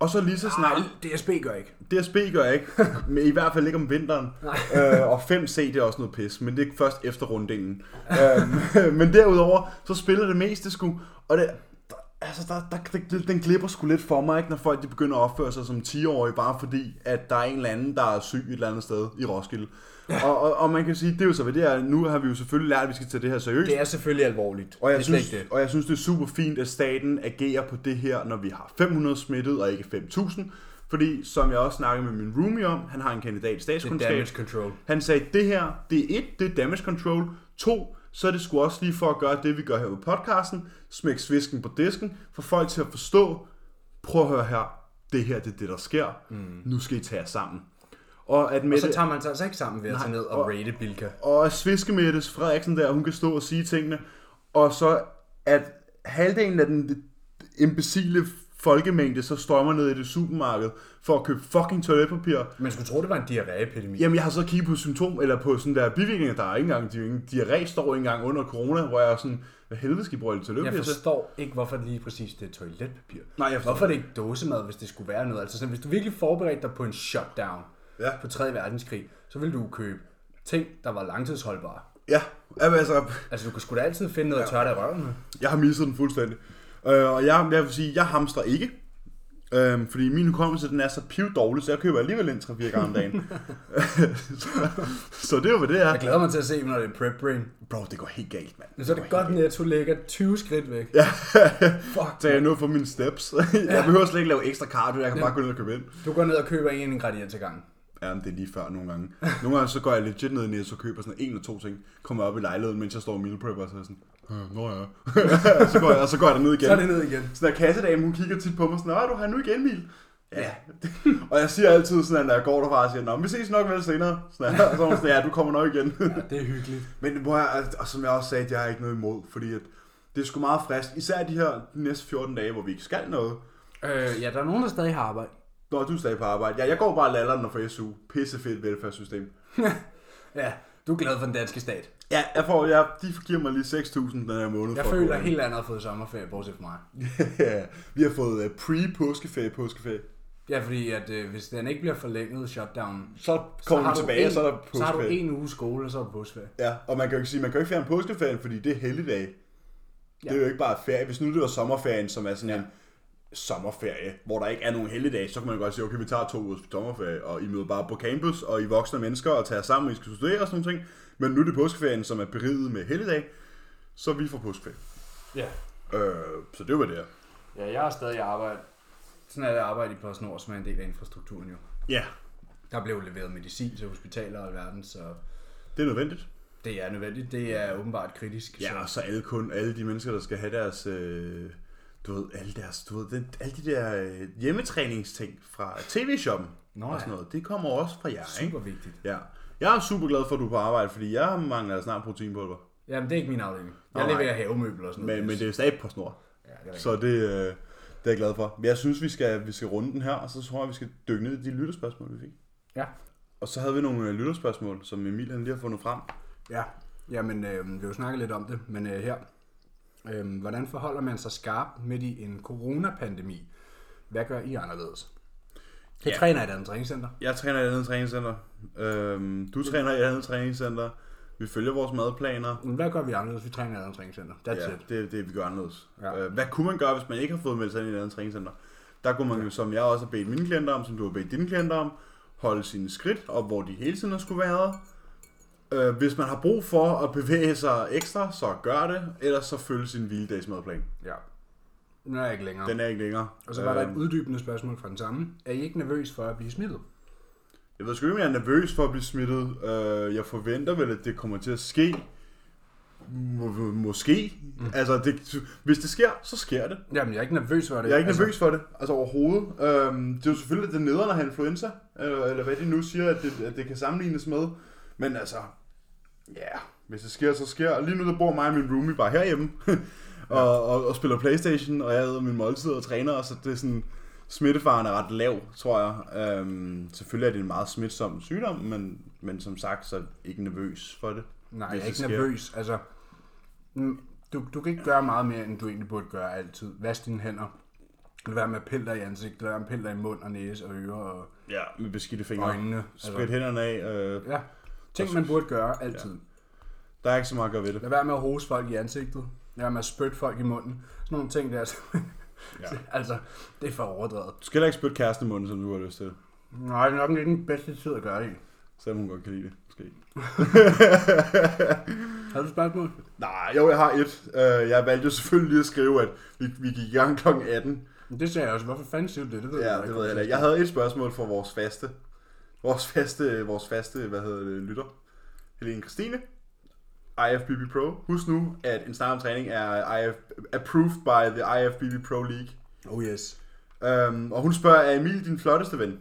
B: Og så lige så snart,
A: DSB gør ikke.
B: DSB gør ikke, men i hvert fald ikke om vinteren. Øh, og 5C, det er også noget pis, men det er først efter runddelen. øh, *laughs* men derudover, så spiller det meste sgu, og det, der, altså, der, der, der, den glipper sgu lidt for mig, ikke, når folk de begynder at opføre sig som 10-årige, bare fordi, at der er en eller anden, der er syg et eller andet sted i Roskilde. Og, og, og man kan sige, det er jo så ved det her, nu har vi jo selvfølgelig lært, at vi skal tage det her seriøst.
A: Det er selvfølgelig alvorligt.
B: Og jeg,
A: det er slet
B: synes,
A: ikke det.
B: og jeg synes, det er super fint, at staten agerer på det her, når vi har 500 smittet og ikke 5.000. Fordi, som jeg også snakkede med min roomie om, han har en kandidat i
A: Det er
B: statskundskab.
A: damage control.
B: Han sagde, det her, det er et, det er damage control. To, så er det sgu også lige for at gøre det, vi gør her på podcasten. Smæk svisken på disken. Få folk til at forstå, prøv at høre her, det her, det er det, der sker. Mm. Nu skal I tage jer sammen. Og at
A: Og
B: Mette,
A: så tager man sig altså ikke sammen ved at tage ned og
B: og-
A: rate Bilka.
B: og at Sviskemettes Frederiksen der, hun kan stå og sige tingene, og så at halvdelen af den imbecile folkemængde så strømmer ned i det supermarked for at købe fucking toiletpapir.
A: Man skulle tro, det var en diarréepidemi.
B: Jamen, jeg har så kigget på symptom, eller på sådan der bivirkninger, der er ikke engang, de er jo ikke- diarré står ikke engang under corona, hvor jeg er sådan, hvad helvede skal I bruge det
A: Jeg
B: toiletpapir til?
A: forstår ikke, hvorfor det lige præcis det er toiletpapir.
B: Nej, jeg forstår
A: hvorfor er det ikke dåsemad, hvis det skulle være noget? Altså, sådan, hvis du virkelig forberedte dig på en shutdown
B: Ja.
A: på 3. verdenskrig, så ville du købe ting, der var langtidsholdbare.
B: Ja, jamen, altså,
A: Altså, du kunne sgu da altid finde noget at tørre dig i røven med.
B: Jeg har misset den fuldstændig. Øh, og jeg, jeg vil sige, jeg hamstrer ikke. Øh, fordi min hukommelse, den er så piv dårlig, så jeg køber alligevel ind 3-4 gange
A: *laughs*
B: om dagen. så, så det er jo, hvad det
A: Jeg
B: er.
A: glæder mig til at se, når det er prep brain.
B: Bro, det går helt galt, mand.
A: Men så er det
B: går
A: godt,
B: helt
A: netto ligger 20 skridt væk. Ja. *laughs* Fuck.
B: galt. Så jeg nu for mine steps. *laughs* jeg behøver slet ikke lave ekstra cardio, jeg kan bare gå ned og købe ind.
A: Du går ned og køber en ingrediens ad gangen.
B: Ja, men det er lige før nogle gange. Nogle gange så går jeg legit ned i Netto og køber sådan en eller to ting. Kommer op i lejligheden, mens jeg står og meal prepper, og så er jeg sådan, "Øh, nå ja. *laughs* så går jeg, og så går jeg ned igen.
A: Så er det ned igen.
B: Sådan der kassedame, hun kigger tit på mig sådan, Åh, du har nu igen, Emil. Ja. *laughs* og jeg siger altid sådan, når jeg går derfra og siger, Nå, men vi ses nok vel senere. Sådan der. Og så er hun sådan, ja, du kommer nok igen.
A: Ja, det er hyggeligt.
B: *laughs* men hvor jeg, altså, og som jeg også sagde, jeg har ikke noget imod, fordi at det er sgu meget frisk. Især de her de næste 14 dage, hvor vi ikke skal noget.
A: Øh, ja, der er nogen, der stadig har arbejde. *laughs*
B: Når du er stadig på arbejde. Ja, jeg går bare lalleren og får SU. Pissefedt velfærdssystem.
A: Ja, du er glad for den danske stat.
B: Ja, jeg får, jeg, de giver mig lige 6.000 den her måned.
A: Jeg
B: for at
A: føler,
B: gå
A: at helt andet har fået sommerferie, bortset fra mig.
B: *laughs* ja, vi har fået uh, pre-påskeferie, påskeferie.
A: Ja, fordi at, øh, hvis den ikke bliver forlænget, shutdown,
B: Så kommer
A: har
B: vi
A: du
B: tilbage,
A: en,
B: og så er der
A: så har du
B: påskeferie.
A: en uge skole, og så er du påskeferie.
B: Ja, og man kan jo ikke sige, man kan jo ikke fjerne påskeferien, fordi det er helligdag. Ja.
A: Ja.
B: Det er jo ikke bare ferie. Hvis nu det var sommerferien, som er sådan en sommerferie, hvor der ikke er nogen helligdag, så kan man jo godt sige, okay, vi tager to ugers sommerferie, og I møder bare på campus, og I er voksne mennesker, og tager sammen, og I skal studere og sådan noget. Men nu er det påskeferien, som er beriget med helligdag, så vi får påskeferie.
A: Ja.
B: Øh, så det var det her.
A: ja, jeg er stadig i arbejde. Sådan er det at arbejde i PostNord, som er en del af infrastrukturen jo.
B: Ja,
A: Der blev leveret medicin til hospitaler og alverden, så
B: det er nødvendigt.
A: det er nødvendigt. Det er åbenbart kritisk.
B: Ja, og så alle kun, alle de mennesker, der skal have deres, øh, du ved, alle deres, du ved, den, alle de der øh, hjemmetræningsting fra tv-shoppen
A: Nå
B: og
A: ja.
B: sådan noget, det kommer også fra jer,
A: Så
B: ikke?
A: super vigtigt.
B: Ja. Jeg er super glad for, at du er på arbejde, fordi jeg mangler snart proteinpulver.
A: Jamen, det er ikke min afdeling.
B: Nå,
A: Jeg
B: nej.
A: leverer havemøbler og sådan noget.
B: Men, men det er stadig på snor,
A: Ja, det er rigtigt.
B: så det, øh, det er jeg glad for. Men jeg synes, vi skal, vi skal runde den her, og så tror jeg, vi skal dykke ned i de lytterspørgsmål, vi fik.
A: Ja.
B: Og så havde vi nogle øh, lytterspørgsmål, som Emil han lige har fundet frem.
A: Ja, jamen øh, vi har jo snakket lidt om det, men øh, her. Øh, hvordan forholder man sig skarp midt i en coronapandemi? Hvad gør I anderledes? Jeg
B: Ja.
A: ja. træner i et andet træningscenter.
B: Jeg træner i et andet træningscenter. Øhm, du træner i et andet træningscenter. Vi følger vores madplaner.
A: Men Hvad gør vi anderledes? Vi træner i et andet træningscenter. That's
B: Ja,
A: it.
B: det er det, vi gør anderledes. Øh, Ja.
A: Ja.
B: Hvad kunne man gøre, hvis man ikke har fået meldt sig ind i et andet træningscenter? Der kunne man jo, som jeg også har bedt mine klienter om, som du har bedt dine klienter om, holde sine skridt op, hvor de hele tiden har skulle være. Øh, hvis man har brug for at bevæge sig ekstra, så gør det. Ellers så følg sin hviledagsmadplan.
A: Ja. Nu er jeg ikke længere.
B: Den er ikke længere. Øh,
A: Og så var der et uddybende spørgsmål fra den samme. Er I ikke nervøs for at blive smittet?
B: Jeg ved sgu ikke, om jeg er nervøs for at blive smittet. Øh, jeg forventer vel, at det kommer til at ske. Må, må- måske. Mm. Altså, det, hvis det sker, så sker det.
A: Jamen, jeg er ikke nervøs for det.
B: Jeg er ikke
A: altså,
B: nervøs for det, altså overhovedet. Øhm, det er jo selvfølgelig, at det er nederen at have influenza, eller, eller hvad de nu siger, at det, at det kan sammenlignes med. Men altså, ja, yeah, hvis det sker, så sker. Og lige nu, der bor mig og min roomie bare herhjemme, *laughs* og, og, og spiller Playstation, og jeg æder min måltid og træner, og så det er sådan, smittefaren er ret lav, tror jeg. Øhm, selvfølgelig er det en meget smitsom sygdom, men, men som sagt, så er jeg ikke nervøs for det.
A: Nej,
B: hvis
A: jeg er
B: det
A: ikke
B: sker.
A: nervøs. Altså, mm, du, du kan ikke gøre meget mere, end du egentlig burde gøre altid. Vask dine hænder. Lad være med piller i ansigtet. Lad være med piller i mund og næse og ører og
B: Ja, med beskidte fingre.
A: øjnene. Altså,
B: Sprit hænderne af. Øh,
A: ja, ting man burde gøre altid. Ja.
B: der er ikke så meget at gøre ved det.
A: Lad være med at hose folk i ansigtet. Lad være med at spytte folk i munden. Sådan nogle ting der. *laughs* ja.
B: Ja.
A: altså, det er for overdrevet.
B: Du skal heller ikke spytte kæresten i munden, som du har lyst til.
A: Nej, det er nok ikke den bedste tid at gøre det i.
B: Selvom hun godt kan lide det, måske.
A: Har du et spørgsmål?
B: *laughs* Nej, jo, jeg har et. Øh, Jeg valgte jo selvfølgelig lige at skrive, at vi, vi gik i gang kl. 18.
A: Men Det sagde jeg også. Hvorfor fanden siger du det? Det ved
B: Ja,
A: jeg
B: det ved jeg heller ikke. Jeg havde et spørgsmål fra vores faste, vores faste, vores faste hvad hedder det, lytter. Helene Christine, IFBB Pro. Husk nu, at en snak om træning er IF, approved by the IFBB Pro League.
A: Oh yes.
B: Øhm, og hun spørger, er Emil din flotteste ven?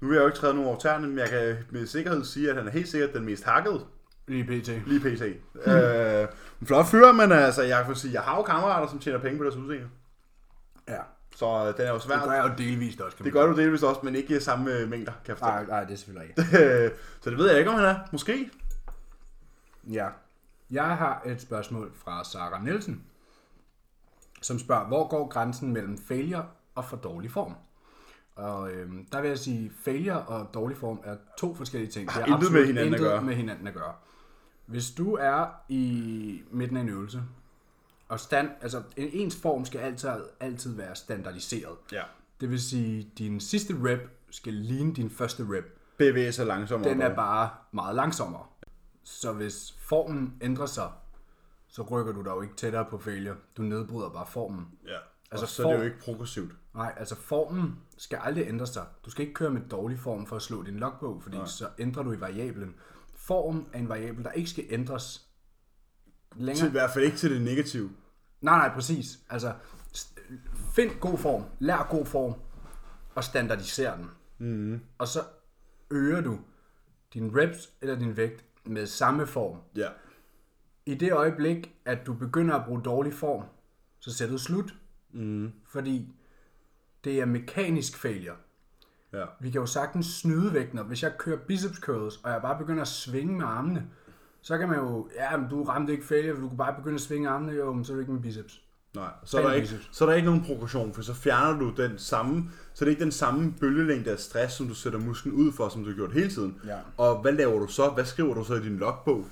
B: Nu vil jeg jo ikke træde nogen over tæerne, men jeg kan med sikkerhed sige, at han er helt sikkert den mest hakkede
A: Lige pt.
B: Lige pt. øh, en flot fyr, men altså, jeg kan sige, jeg har jo kammerater, som tjener penge på deres udseende.
A: Ja,
B: Så øh, den er jo svær.
A: det gør jeg jo delvist også. Kan
B: Det
A: man
B: gør du delvis også, men ikke i samme øh, mængder, kan jeg
A: sige. Nej,
B: forstå.
A: nej, det er selvfølgelig ikke.
B: Øh, *laughs* så det ved jeg ikke, om han er. Måske.
A: Ja. Jeg har et spørgsmål fra Sara Nielsen, som spørger, hvor går grænsen mellem failure og for dårlig form? Og øhm, der vil jeg sige, failure og dårlig form er to forskellige ting. Det
B: Har
A: er
B: *laughs* intet med
A: absolut
B: hinanden at
A: intet
B: gøre.
A: med hinanden at gøre. Hvis du er i midten af en øvelse, og stand, altså en- ens form skal altid, altid være standardiseret.
B: Ja.
A: Det vil sige, din sidste rep skal ligne din første rep.
B: Bevæger sig langsommere.
A: Den er bare meget langsommere. Så hvis formen ændrer sig, så rykker du dig jo ikke tættere på failure. Du nedbryder bare formen.
B: Ja.
A: Altså,
B: Altså, så er det
A: for-
B: jo ikke progressivt.
A: Nej, altså formen skal aldrig ændre sig. Du skal ikke køre med dårlig form for at slå din logbog, fordi Nej. så ændrer du i variablen. Form er en variabel, der ikke skal ændres
B: Til,
A: længere.
B: I hvert fald ikke til det negative.
A: Nej, nej, præcis. Altså, st- find god form, lær god form, og standardiser den. Mm. Og så øger du din reps eller din vægt med samme form.
B: Ja.
A: I det øjeblik, at du begynder at bruge dårlig form, så sætter du slut. Mm. Fordi det er mekanisk failure.
B: Ja.
A: Vi kan jo sagtens snyde vægten, og hvis jeg kører biceps curls, og jeg bare begynder at svinge med armene, så kan man jo, ja, men du ramte ikke failure, for du kunne bare begynde at svinge armene, jo, men så er du ikke med biceps.
B: Nej, så er, der
A: Fan
B: ikke,
A: research.
B: så er der ikke nogen progression, for så fjerner du den samme, så det er ikke den samme bølgelængde af stress, som du sætter musklen ud for, som du har gjort hele tiden.
A: Ja.
B: Og hvad laver du så? Hvad skriver du så i din logbog?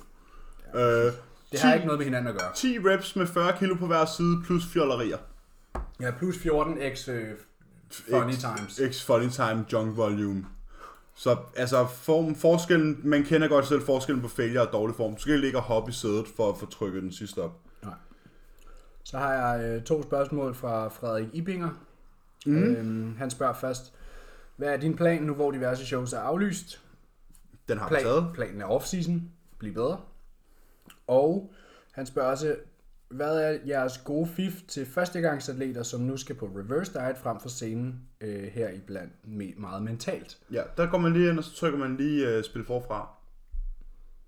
B: Ja, øh,
A: Det
B: 10,
A: har ikke noget med hinanden at gøre.
B: 10 reps med 40 kilo på hver side, plus fjollerier.
A: Ja, plus 14 x øh, funny
B: X-
A: times.
B: X funny time, junk volume. Så altså form, forskellen, man kender godt selv forskellen på failure og dårlig form. Du skal ikke ligge og hoppe i sædet for at få trykket den sidste op.
A: Nej. Så har jeg øh, to spørgsmål fra Frederik Ibinger. Mm. Øhm, han spørger først, hvad er din plan nu, hvor diverse shows er aflyst?
B: Den har vi taget.
A: Plan, planen er off-season, bliv bedre. Og han spørger også, hvad er jeres gode fif til førstegangsatleter, som nu skal på reverse diet frem for scenen, øh, her i blandt me- meget mentalt?
B: Ja, der går man lige ind, og så trykker man lige uh, spil forfra.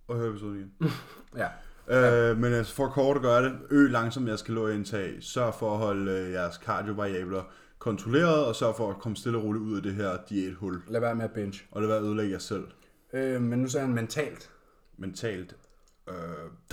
B: Og hører episoden igen.
A: Ja,
B: Øh, men altså for kort at gøre det, øg langsomt jeres kalorieindtag, sørg for at holde øh, jeres kardiovariabler kontrolleret, og sørg for at komme stille og roligt ud af det her diæthul,
A: lad være med at binge.
B: og lad være at ødelægge jer selv
A: Øh, men nu sagde han mentalt.
B: mentalt. Øh, *laughs*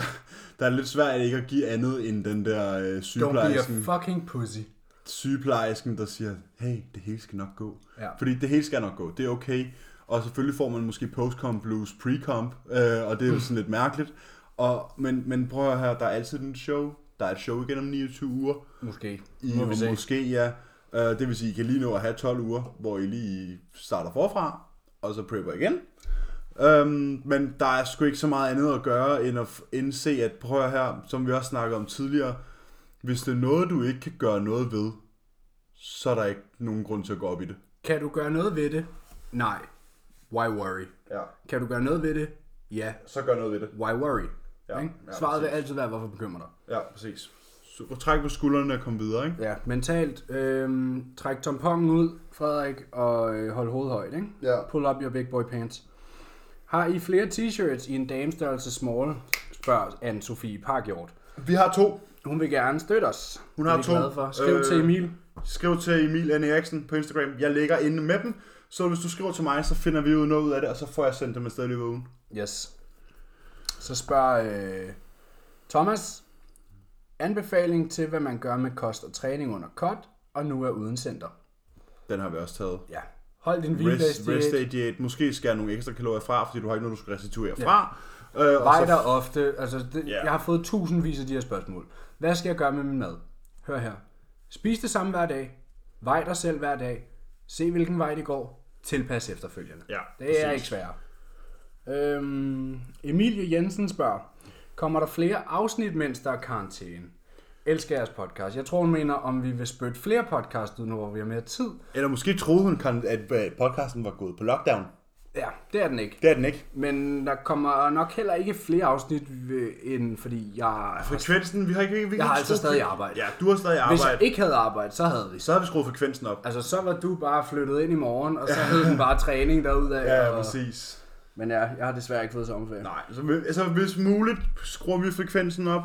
B: der er lidt svært ikke at give andet end den der
A: Don't
B: øh,
A: be a
B: sygeplejersken,
A: fucking pussy.
B: sygeplejersken, der siger, hey, det hele skal nok gå.
A: Ja.
B: Fordi det hele skal nok gå, det er okay. Og selvfølgelig får man måske post-comp blues, pre-comp, øh, og det
A: Mm.
B: er jo sådan lidt mærkeligt. Og, men, men prøv at høre, der er altid en show. Der er et show igen om 29 uger.
A: Måske.
B: I
A: Må vi se.
B: måske, ja. Uh, det vil sige, I kan lige nå at have 12 uger, hvor I lige starter forfra, og så prepper igen. Um, men der er sgu ikke så meget andet at gøre, end at f- indse, at prøv at høre her, som vi også snakkede om tidligere, hvis det er noget, du ikke kan gøre noget ved, så er der ikke nogen grund til at gå op i det.
A: Kan du gøre noget ved det? Nej. Why worry?
B: Ja.
A: Kan du gøre noget ved det? Ja.
B: Så gør noget ved det.
A: Why worry?
B: Ja,
A: Ikke?
B: ja,
A: Svaret vil altid være, hvorfor bekymrer dig?
B: Ja, præcis. Så træk på skuldrene og kom videre, ikke?
A: Ja, mentalt. Øhm, træk tamponen ud, Frederik, og øh, hold hovedet højt. Ikke?
B: Ja.
A: Pull up your big boy pants. Har I flere t-shirts i en damestørrelse small? Spørger Anne-Sophie Parkjord.
B: Vi har to.
A: Hun vil gerne støtte os.
B: Hun har
A: Det er
B: to.
A: vi glade For. Skriv øh... til
B: Øh,
A: Emil.
B: Skriv til Emil N. Eriksen på Instagram. Jeg ligger inde med dem. Så hvis du skriver til mig, så finder vi ud noget ud af det, og så får jeg sendt dem afsted i løbet af ugen.
A: Yes. Så spørger øh, Thomas. Anbefaling til, hvad man gør med kost og træning under cut, og nu er uden center.
B: Den har vi også taget.
A: Ja. Hold din
B: Rest, rest
A: hviledagsdiæt.
B: day diæt. Måske skære nogle ekstra kalorier fra, fordi du har ikke noget, du skal restituere fra. Øh, og
A: Vej
B: så-
A: dig ofte. Altså, det,
B: Ja.
A: Jeg har fået tusindvis af de her spørgsmål. Hvad skal jeg gøre med min mad? Hør her. Spis det samme hver dag. Vej dig selv hver dag. Se, hvilken vej det går. Tilpas efterfølgende.
B: Ja,
A: det er ikke sværere. Øhm, Emilie Jensen spørger, kommer der flere afsnit, mens der er karantæne? Elsker jeres podcast. Jeg tror, hun mener, om vi vil spytte flere podcast ud nu, hvor vi har mere tid.
B: Eller måske troede hun, kan- at øh, podcasten var gået på lockdown.
A: Ja, det er den ikke.
B: Det er den ikke.
A: Men der kommer nok heller ikke flere afsnit, ved- end fordi jeg...
B: Frekvensen, vi har ikke... Vi
A: Jeg har altså stadig arbejde.
B: Ja, du har stadig
A: Hvis
B: arbejde.
A: jeg ikke havde arbejde, så havde vi.
B: Så har vi skruet frekvensen op.
A: Altså, så var du bare flyttet ind i morgen, og så hed den bare træning derudad.
B: Ja,
A: og...
B: præcis.
A: Men ja, jeg har desværre ikke fået sommerferie.
B: Nej, så, vi- altså hvis muligt skruer vi frekvensen op,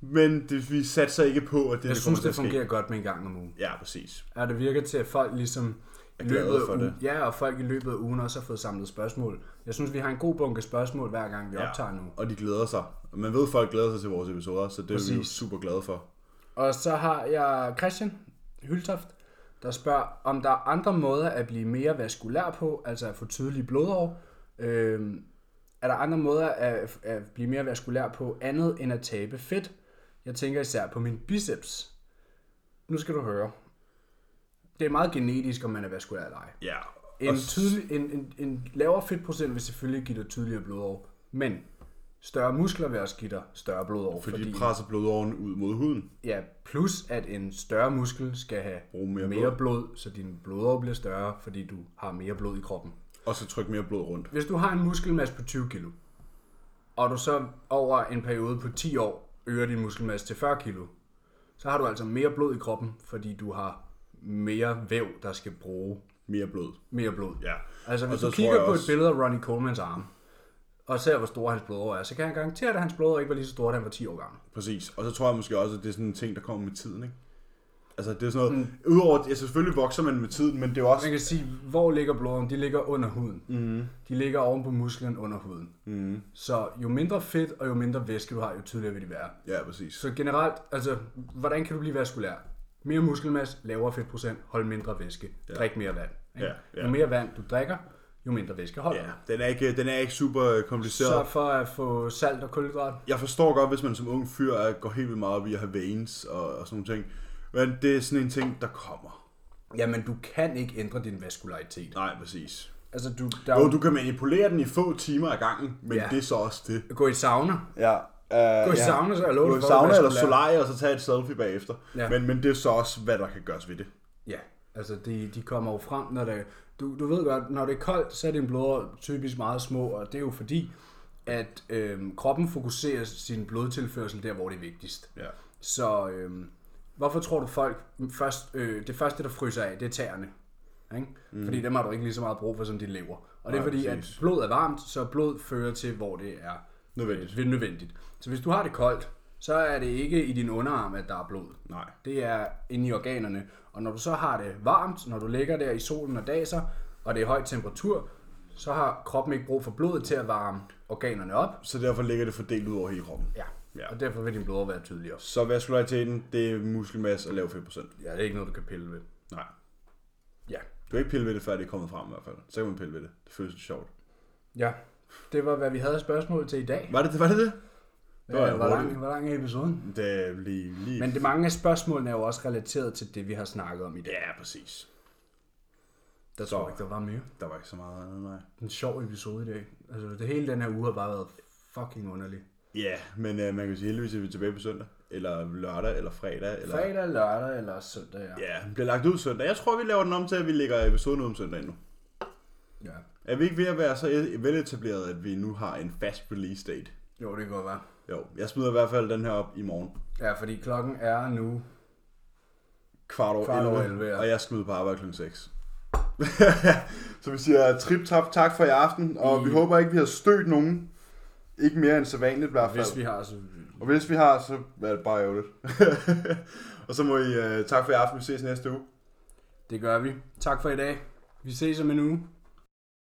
B: men det, vi satser ikke på, at det
A: Jeg
B: det
A: synes,
B: til
A: det
B: at ske.
A: fungerer godt med en gang om ugen.
B: Ja, præcis.
A: Ja, det virker til, at folk ligesom i
B: glade
A: løbet af
B: for
A: ugen,
B: det.
A: Ja, og folk i løbet af ugen også har fået samlet spørgsmål. Jeg synes, vi har en god bunke spørgsmål, hver gang vi ja. optager nu.
B: Og de glæder sig. Man ved, at folk glæder sig til vores episoder, så det er vi jo
A: Præcis.
B: super glade for.
A: Og så har jeg Christian Hyltoft, der spørger, om der er andre måder at blive mere vaskulær på, altså at få tydelige blodår. Øhm, er der andre måder at, at blive mere vaskulær på, andet end at tabe fedt? Jeg tænker især på min biceps. Nu skal du høre. Det er meget genetisk, om man er vaskulær eller ej.
B: Ja.
A: En,
B: og
A: tydelig, en, en, en lavere fedtprocent vil selvfølgelig give dig tydeligere blodår, men større muskler vil også give dig større blodår,
B: fordi,
A: fordi, fordi
B: de presser blodåren ud mod huden.
A: ja, plus at en større muskel skal have
B: Bruge mere
A: mere blod. så din blodår bliver større, fordi du har mere blod i kroppen.
B: Og så trykke mere blod rundt.
A: Hvis du har en muskelmasse på 20 kilo, og du så over en periode på 10 år øger din muskelmasse til 40 kilo, så har du altså mere blod i kroppen, fordi du har mere væv, der skal bruge
B: Mere blod.
A: mere blod.
B: Ja.
A: Altså,
B: Og
A: hvis
B: så
A: du
B: tror
A: kigger
B: jeg
A: på
B: også-
A: et billede af Ronnie Colemans arm, og ser, hvor store hans blodår er, så kan jeg garantere, at hans blodår ikke var lige så store, da han var 10 år gammel.
B: Præcis. Og så tror jeg måske også, at det er sådan en ting, der kommer med tiden, ikke? Altså, det er sådan noget... Mm. Udover, ja, selvfølgelig vokser man med tiden, men det er jo også...
A: Man kan sige, hvor ligger blodåren? De ligger under huden.
B: Mhm.
A: Mm. De ligger oven på musklen under huden. Mm. Så jo mindre fedt og jo mindre væske du har, jo tydeligere vil de være.
B: Ja, præcis.
A: Så generelt, altså, hvordan kan du blive vaskulær? Mere muskelmasse, lavere fedtprocent, hold mindre væske, ja. drik mere vand. ikke?
B: Ja, ja.
A: Jo mere vand du drikker, jo mindre væske holder
B: Ja,
A: du.
B: den er ikke, den er ikke super øh, kompliceret.
A: Sørg for at få salt og kulhydrat.
B: jeg forstår godt, hvis man som ung fyr er, går helt vildt meget op i at have veins og, og sådan nogle ting. Men det er sådan en ting, der kommer.
A: Jamen, du kan ikke ændre din vaskularitet.
B: Nej, præcis.
A: Altså, du, der er
B: Jo,
A: jo,
B: du kan manipulere den i få timer ad gangen, men ja.
A: Ja.
B: det er så også det.
A: du... gå i sauna.
B: Ja. Uh,
A: Gå i sauna, så er jeg lovet
B: Gå i
A: for, at
B: sauna
A: du
B: eller
A: vaskulær.
B: solarie, og så tage et selfie bagefter. Ja.
A: Ja.
B: Men, men det er så også, hvad der kan gøres ved det.
A: Ja, altså de, de kommer jo frem, når det, du, du ved godt, når det er koldt, så er dine blodår typisk meget små, og det er jo fordi, at øhm, kroppen fokuserer sin blodtilførsel der, hvor det er vigtigst.
B: Ja.
A: Så øhm, hvorfor tror du folk, først, øh, det første der fryser af, det er tæerne? Ikke? Mm. Fordi dem har du ikke lige så meget brug for, som de lever. Og det er
B: Nej,
A: fordi, at
B: præcis.
A: blod er varmt, så blod fører til, hvor det er
B: Nødvendigt.
A: øh, nødvendigt. Så hvis du har det koldt, så er det ikke i din underarm, at der er blod.
B: Nej.
A: Det er inde i organerne. Og når du så har det varmt, når du ligger der i solen og daser, og det er høj temperatur, så har kroppen ikke brug for blodet til at varme organerne op.
B: Så derfor ligger det fordelt ud over hele kroppen.
A: Ja.
B: Ja.
A: ja. Og derfor vil din blodår være tydeligere.
B: Så vaskulariteten, det er muskelmasse og lav 5%.
A: Ja, det er ikke noget, du kan pille ved.
B: Nej.
A: Ja.
B: Du kan ikke pille ved det, før det er kommet frem i hvert fald. Så kan man pille ved det. Det føles lidt sjovt.
A: Ja. Det var, hvad vi havde af spørgsmål til i dag.
B: Var det var det? det? Det var
A: Ja, hvor, lang,
B: hurtigt.
A: hvor lang er episoden?
B: Det er lige, lige...
A: Men det mange af spørgsmålene er jo også relateret til det, vi har snakket om i dag.
B: Ja, præcis.
A: Der tror jeg ikke, der var mere.
B: Der var ikke så meget andet, nej.
A: En sjov episode i dag. Altså, det hele den her uge har bare været fucking underlig.
B: Ja, men øh, man kan sige heldigvis, at vi er tilbage på søndag. Eller lørdag, eller fredag. Eller...
A: Fredag, lørdag eller søndag, ja.
B: Ja, den bliver lagt ud søndag. Jeg tror, vi laver den om til, at vi lægger episoden ud om søndag nu.
A: ja.
B: Er vi ikke ved at være så e- veletableret, at vi nu har en fast release date?
A: Jo, det kan godt være.
B: Jo, jeg smider i hvert fald den her op i morgen.
A: Ja, fordi klokken er nu...
B: Kvart over
A: Kvart
B: 11,
A: over 11, ja.
B: og jeg skal ud på arbejde kl. 6. *laughs* så vi siger øh, trip tap tak for i aften, og vi håber ikke, vi har stødt nogen. Ikke mere end sædvanligt i hvert fald.
A: Hvis vi har, så...
B: Og hvis vi har, så er det bare ærgerligt. *laughs* og så må øh, I uh, tak for i aften. Vi ses næste uge.
A: Det gør vi. Tak for i dag. Vi ses om en uge.